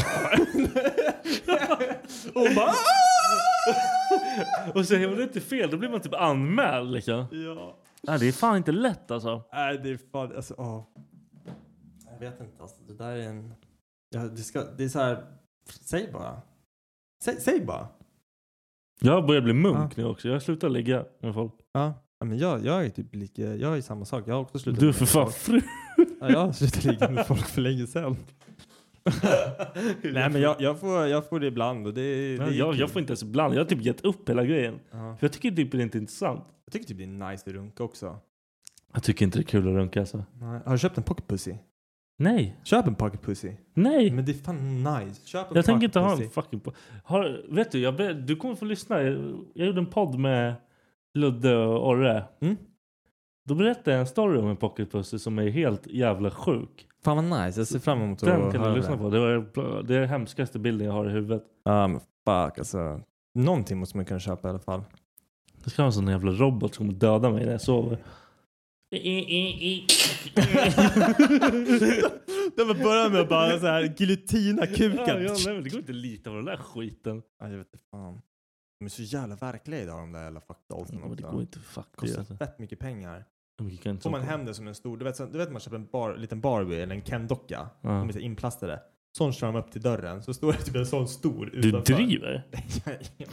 [SPEAKER 4] och bara...
[SPEAKER 2] Och säger man inte fel, då blir man typ anmäld liksom.
[SPEAKER 4] ja.
[SPEAKER 2] Nej, det är fan inte lätt alltså.
[SPEAKER 4] Nej, det är fan... Alltså, åh. Jag vet inte. Alltså, det där är en... Ja, det, ska, det är så här... Säg bara. Säg, säg bara.
[SPEAKER 2] Jag börjar bli munk nu också. Jag slutar ligga med folk.
[SPEAKER 4] Ja. ja men jag, jag är typ lika... Jag är samma sak. Jag har också slutat
[SPEAKER 2] Du är
[SPEAKER 4] ligga
[SPEAKER 2] för
[SPEAKER 4] med
[SPEAKER 2] fan
[SPEAKER 4] folk.
[SPEAKER 2] fru.
[SPEAKER 4] Ja, jag har slutat ligga med folk för länge sedan. Nej men jag, jag, får, jag får det ibland och det, är- det är
[SPEAKER 2] Nej, jag,
[SPEAKER 4] kul.
[SPEAKER 2] jag får inte ens blanda. Jag har typ gett upp hela grejen.
[SPEAKER 4] Ja.
[SPEAKER 2] För jag tycker typ det är inte intressant.
[SPEAKER 4] Jag tycker typ det är nice att runka också.
[SPEAKER 2] Jag tycker inte det är kul att runka alltså.
[SPEAKER 4] Nej. Har du köpt en pocket pussy?
[SPEAKER 2] Nej.
[SPEAKER 4] Köp en pocket pussy.
[SPEAKER 2] Nej.
[SPEAKER 4] Men det är fan nice. Köp en
[SPEAKER 2] Jag tänker inte
[SPEAKER 4] pocket
[SPEAKER 2] ha
[SPEAKER 4] pussy.
[SPEAKER 2] en fucking podd. Har, vet du, jag, ber- du kommer få lyssna. Jag, jag gjorde en podd med Ludde och Orre.
[SPEAKER 4] Mm.
[SPEAKER 2] Då berättade jag en story om en pocketpussy som är helt jävla sjuk.
[SPEAKER 4] Fan vad nice. Jag ser fram emot
[SPEAKER 2] Den kan
[SPEAKER 4] höra
[SPEAKER 2] du lyssna
[SPEAKER 4] det.
[SPEAKER 2] på. Det, var, det är den hemskaste bilden jag har i huvudet.
[SPEAKER 4] Ja men fuck alltså. Någonting måste man kunna köpa i alla fall.
[SPEAKER 2] Det ska ha en sån jävla robot som kommer döda mig när jag sover.
[SPEAKER 4] De börjar med att bara så här giljotina
[SPEAKER 2] Ja,
[SPEAKER 4] kuken.
[SPEAKER 2] ja, nej, men det går inte att lita på den där skiten.
[SPEAKER 4] Ja, jag vet inte fan. De är så jävla verkliga idag de där jävla fuckdollsen
[SPEAKER 2] Men det
[SPEAKER 4] också.
[SPEAKER 2] går inte att fuck det,
[SPEAKER 4] Kostar
[SPEAKER 2] alltså.
[SPEAKER 4] fett mycket pengar.
[SPEAKER 2] Vi kan inte
[SPEAKER 4] Får man
[SPEAKER 2] åka.
[SPEAKER 4] hem det som en stor, du vet, så- du vet man köper en bar, liten Barbie eller en Ken-docka.
[SPEAKER 2] Ja.
[SPEAKER 4] De är så inplastade. Sån kör de upp till dörren så står det typ en sån stor
[SPEAKER 2] Du driver?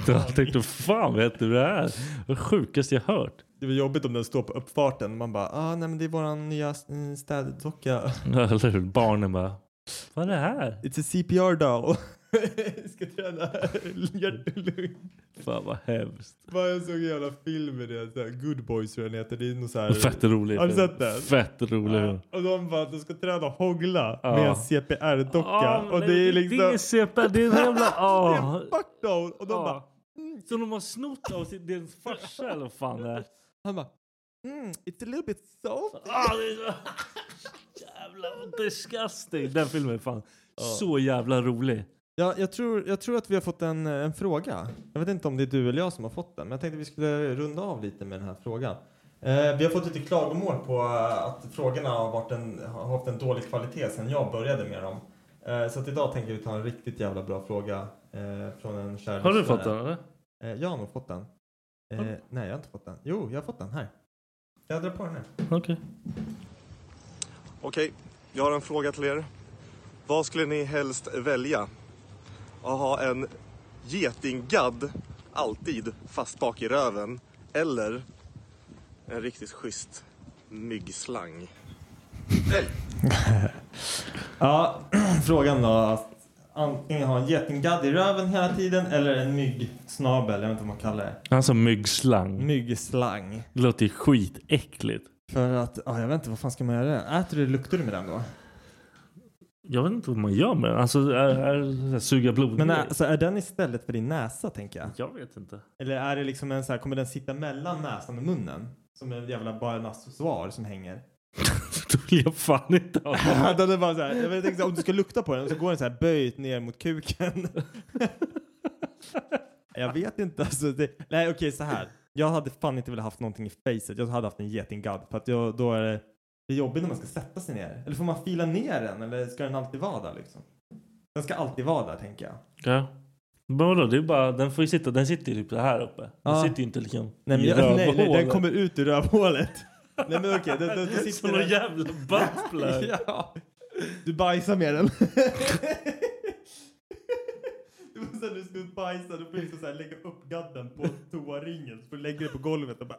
[SPEAKER 2] Jag tänkte fan vet du det här? Det sjukaste jag hört.
[SPEAKER 4] Det var jobbigt om den står på uppfarten. Man bara, ah, nej men det är våran nya eh, städdocka.
[SPEAKER 2] Ja, Eller hur? Barnen bara. Vad är det här?
[SPEAKER 4] It's a CPR doll. Jag ska träna hjärt-lung.
[SPEAKER 2] Fan vad hemskt.
[SPEAKER 4] Bara jag såg en jävla film med det. Så här, Good boys tror jag den heter. Det är någon så här.
[SPEAKER 2] Fett rolig.
[SPEAKER 4] Har du
[SPEAKER 2] film.
[SPEAKER 4] sett den?
[SPEAKER 2] Fett rolig. film.
[SPEAKER 4] Och de bara, de ska träna hångla
[SPEAKER 2] Ja.
[SPEAKER 4] med en CPR-docka.
[SPEAKER 2] Ja, men
[SPEAKER 4] och det är
[SPEAKER 2] Det är
[SPEAKER 4] liksom...
[SPEAKER 2] ingen CP, det är en jävla...
[SPEAKER 4] Det
[SPEAKER 2] Oh.
[SPEAKER 4] är fuck doll. Och de bara,
[SPEAKER 2] Så de har snott av sin, din farsa eller vad fan det är.
[SPEAKER 4] han bara, mm, it's a little bit soft.
[SPEAKER 2] Ah, det är så... Jävla disgusting. Den filmen är fan så jävla rolig.
[SPEAKER 4] Ja, jag, tror, jag tror att vi har fått en, en fråga. Jag vet inte om det är du eller jag som har fått den, men jag tänkte vi skulle runda av lite med den här frågan. Eh, vi har fått lite klagomål på eh, att frågorna har, varit en, har haft en dålig kvalitet sedan jag började med dem. Eh, så att idag tänker vi ta en riktigt jävla bra fråga eh, från en kär
[SPEAKER 2] Har du
[SPEAKER 4] lyssnare.
[SPEAKER 2] fått den eller?
[SPEAKER 4] Eh, jag har nog fått den. Eh,
[SPEAKER 2] Har du?
[SPEAKER 4] Nej, jag har inte fått den. Jo, jag har fått den här. Jag drar på den här.
[SPEAKER 2] Okej.
[SPEAKER 6] Okej, jag har en fråga till er. Vad skulle ni helst välja? Att ha en getinggadd alltid fast bak i röven eller en riktigt schysst myggslang?
[SPEAKER 4] Ja, frågan då. Att antingen ha en getinggadd i röven hela tiden eller en myggsnabel. Jag vet inte vad man kallar det.
[SPEAKER 2] Alltså myggslang.
[SPEAKER 4] Myggslang.
[SPEAKER 2] Det låter ju skitäckligt.
[SPEAKER 4] För att, ja, jag vet inte, vad fan ska man göra? Äter du, luktar du med den då?
[SPEAKER 2] Jag vet inte vad man gör med den. Alltså är, är, är, suga blod.
[SPEAKER 4] Men alltså, är den istället för din näsa tänker jag?
[SPEAKER 2] Jag vet inte.
[SPEAKER 4] Eller är det liksom en så här, kommer den sitta mellan näsan och munnen? Som en jävla bara en accessoar som hänger.
[SPEAKER 2] Då vill jag fan inte ha den.
[SPEAKER 4] den är bara så här, jag vet inte, om du ska lukta på den så går den så här böjt ner mot kuken. jag vet inte alltså. Det, nej okej så här. Jag hade fan inte velat haft någonting i facet. Jag hade haft en getinggadd för att jag, då är det, det är jobbigt när man ska sätta sig ner. Eller får man fila ner den eller ska den alltid vara där liksom? Den ska alltid vara där tänker jag.
[SPEAKER 2] Ja. Men vadå, det är bara, den får ju sitta, den sitter ju typ så här uppe. Den
[SPEAKER 4] Ja.
[SPEAKER 2] sitter ju inte liksom
[SPEAKER 4] Nej, men
[SPEAKER 2] i
[SPEAKER 4] jag, nej, nej, den
[SPEAKER 2] rövhålet.
[SPEAKER 4] kommer ut ur rövhålet. nej men okej, den, den, den
[SPEAKER 2] Som
[SPEAKER 4] sitter
[SPEAKER 2] någon
[SPEAKER 4] där.
[SPEAKER 2] jävla buttplug.
[SPEAKER 4] ja. Du bajsar med den. Du måste när du ska ut bajsa, då får du liksom så här lägga upp gadden på toaringen. Så får du lägga det på golvet och bara...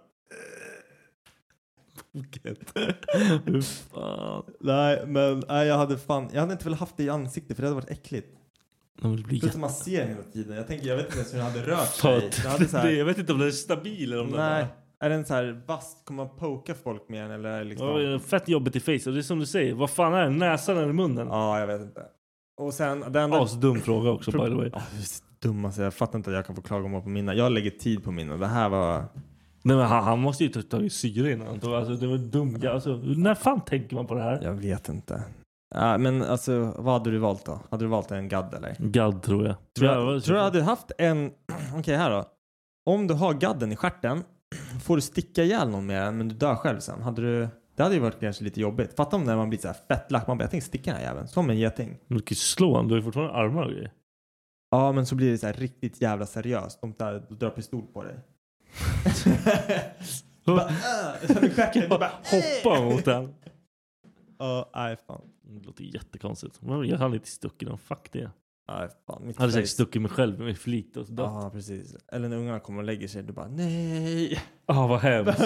[SPEAKER 2] Hur fan.
[SPEAKER 4] Nej, men nej, jag hade fan... Jag hade inte velat haft det i ansiktet för det hade varit äckligt.
[SPEAKER 2] Den vill bli
[SPEAKER 4] Förutom man ser hela tiden. Jag tänker, jag vet inte ens hur den hade rört sig. Den hade så
[SPEAKER 2] jättefödd.
[SPEAKER 4] här,
[SPEAKER 2] Jag vet inte om den är stabil eller om den
[SPEAKER 4] nej. Är den så här vass? Kommer man poka folk med den eller är det liksom...
[SPEAKER 2] bara... Ja, Fett jobbigt i face. Och det är som du säger, vad fan är det? Näsan eller munnen?
[SPEAKER 4] Ja, jag vet inte. Och sen den där...
[SPEAKER 2] Asdum fråga också by the way.
[SPEAKER 4] Ja, det är så dumma så jag fattar inte att jag kan få klagomål på mina. Jag lägger tid på mina. Det här var...
[SPEAKER 2] Nej, men han, han måste ju ta tagit syre innan. Alltså, det var dumt. Ja, Alltså, när fan tänker man på det här?
[SPEAKER 4] Jag vet inte. Ja, men alltså, vad hade du valt då? Hade du valt en gadd eller?
[SPEAKER 2] Gadd tror jag.
[SPEAKER 4] Tror
[SPEAKER 2] Ja,
[SPEAKER 4] jag,
[SPEAKER 2] vad-
[SPEAKER 4] tror jag hade haft en... Okej, här då. Om du har gadden i stjärten får du sticka ihjäl någon med den men du dör själv sen. Hade du... Det hade ju varit kanske lite jobbigt. Fatta om när man blir så här fett lack. Man bara, jag tänker sticka den här jäveln. Som en geting.
[SPEAKER 2] Men Du kan ju slå honom. Du har ju fortfarande armar och grejer.
[SPEAKER 4] Ja, men så blir det så här riktigt jävla seriöst. De där de drar pistol på dig. Du bara, "Äh!" Sen i stjärten, du bara,
[SPEAKER 2] Hoppa mot den.
[SPEAKER 4] Ja, nej fan.
[SPEAKER 2] Det låter jättekonstigt. Men jag hade inte stuckit någon, fuck det.
[SPEAKER 4] Nej, fan, mitt
[SPEAKER 2] jag hade säkert
[SPEAKER 4] face.
[SPEAKER 2] stuckit mig själv med flit och dött.
[SPEAKER 4] Ja, precis. Eller när ungarna kommer och lägger sig, du bara nej.
[SPEAKER 2] Ah, vad
[SPEAKER 4] hemskt.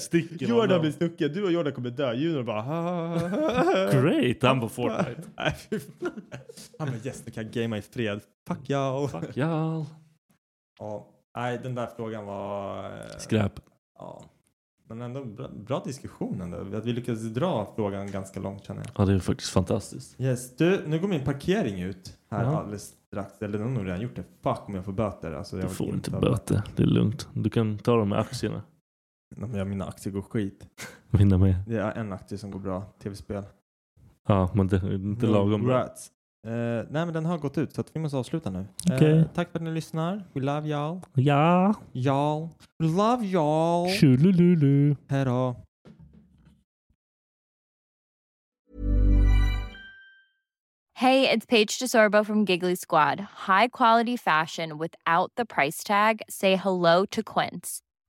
[SPEAKER 2] Sticker
[SPEAKER 4] Jordan
[SPEAKER 2] honom.
[SPEAKER 4] blir stucken, du och Jordan kommer dö. Junior bara "Ha, ha, ha, ha."
[SPEAKER 2] Great, han på Fortnite.
[SPEAKER 4] Nej, fy fan. Han bara yes, nu kan jag gamea i fred. Fuck y'all.
[SPEAKER 2] Fuck y'all.
[SPEAKER 4] Ja, nej, den där frågan var... eh,
[SPEAKER 2] Skräp.
[SPEAKER 4] Ja. Men ändå bra, bra diskussion ändå. Att vi lyckades dra frågan ganska långt känner jag.
[SPEAKER 2] Ja, det är faktiskt fantastiskt.
[SPEAKER 4] Yes, du, nu går min parkering ut här
[SPEAKER 2] Ja.
[SPEAKER 4] alldeles strax. Eller den har nog redan gjort det. Fuck om jag får böter. Alltså, jag
[SPEAKER 2] Du
[SPEAKER 4] vill
[SPEAKER 2] får inte
[SPEAKER 4] ha-
[SPEAKER 2] böter, det är lugnt. Du kan ta dem med aktierna.
[SPEAKER 4] Nej, men jag, mina aktier går skit.
[SPEAKER 2] Vinna med.
[SPEAKER 4] Det är en aktie som går bra. Tv-spel.
[SPEAKER 2] Ja, men det är inte
[SPEAKER 4] Mm.
[SPEAKER 2] lagom bra.
[SPEAKER 4] Rats. Eh, nej men den har gått ut så att vi måste avsluta nu. Eh,
[SPEAKER 2] Okej.
[SPEAKER 4] tack för att ni lyssnar. We love y'all.
[SPEAKER 2] Ja.
[SPEAKER 4] Y'all. We love y'all.
[SPEAKER 2] Tjolululu.
[SPEAKER 4] Hej då.
[SPEAKER 5] Hey, it's Paige DeSorbo from Giggly Squad. High quality fashion without the price tag. Say hello to Quince.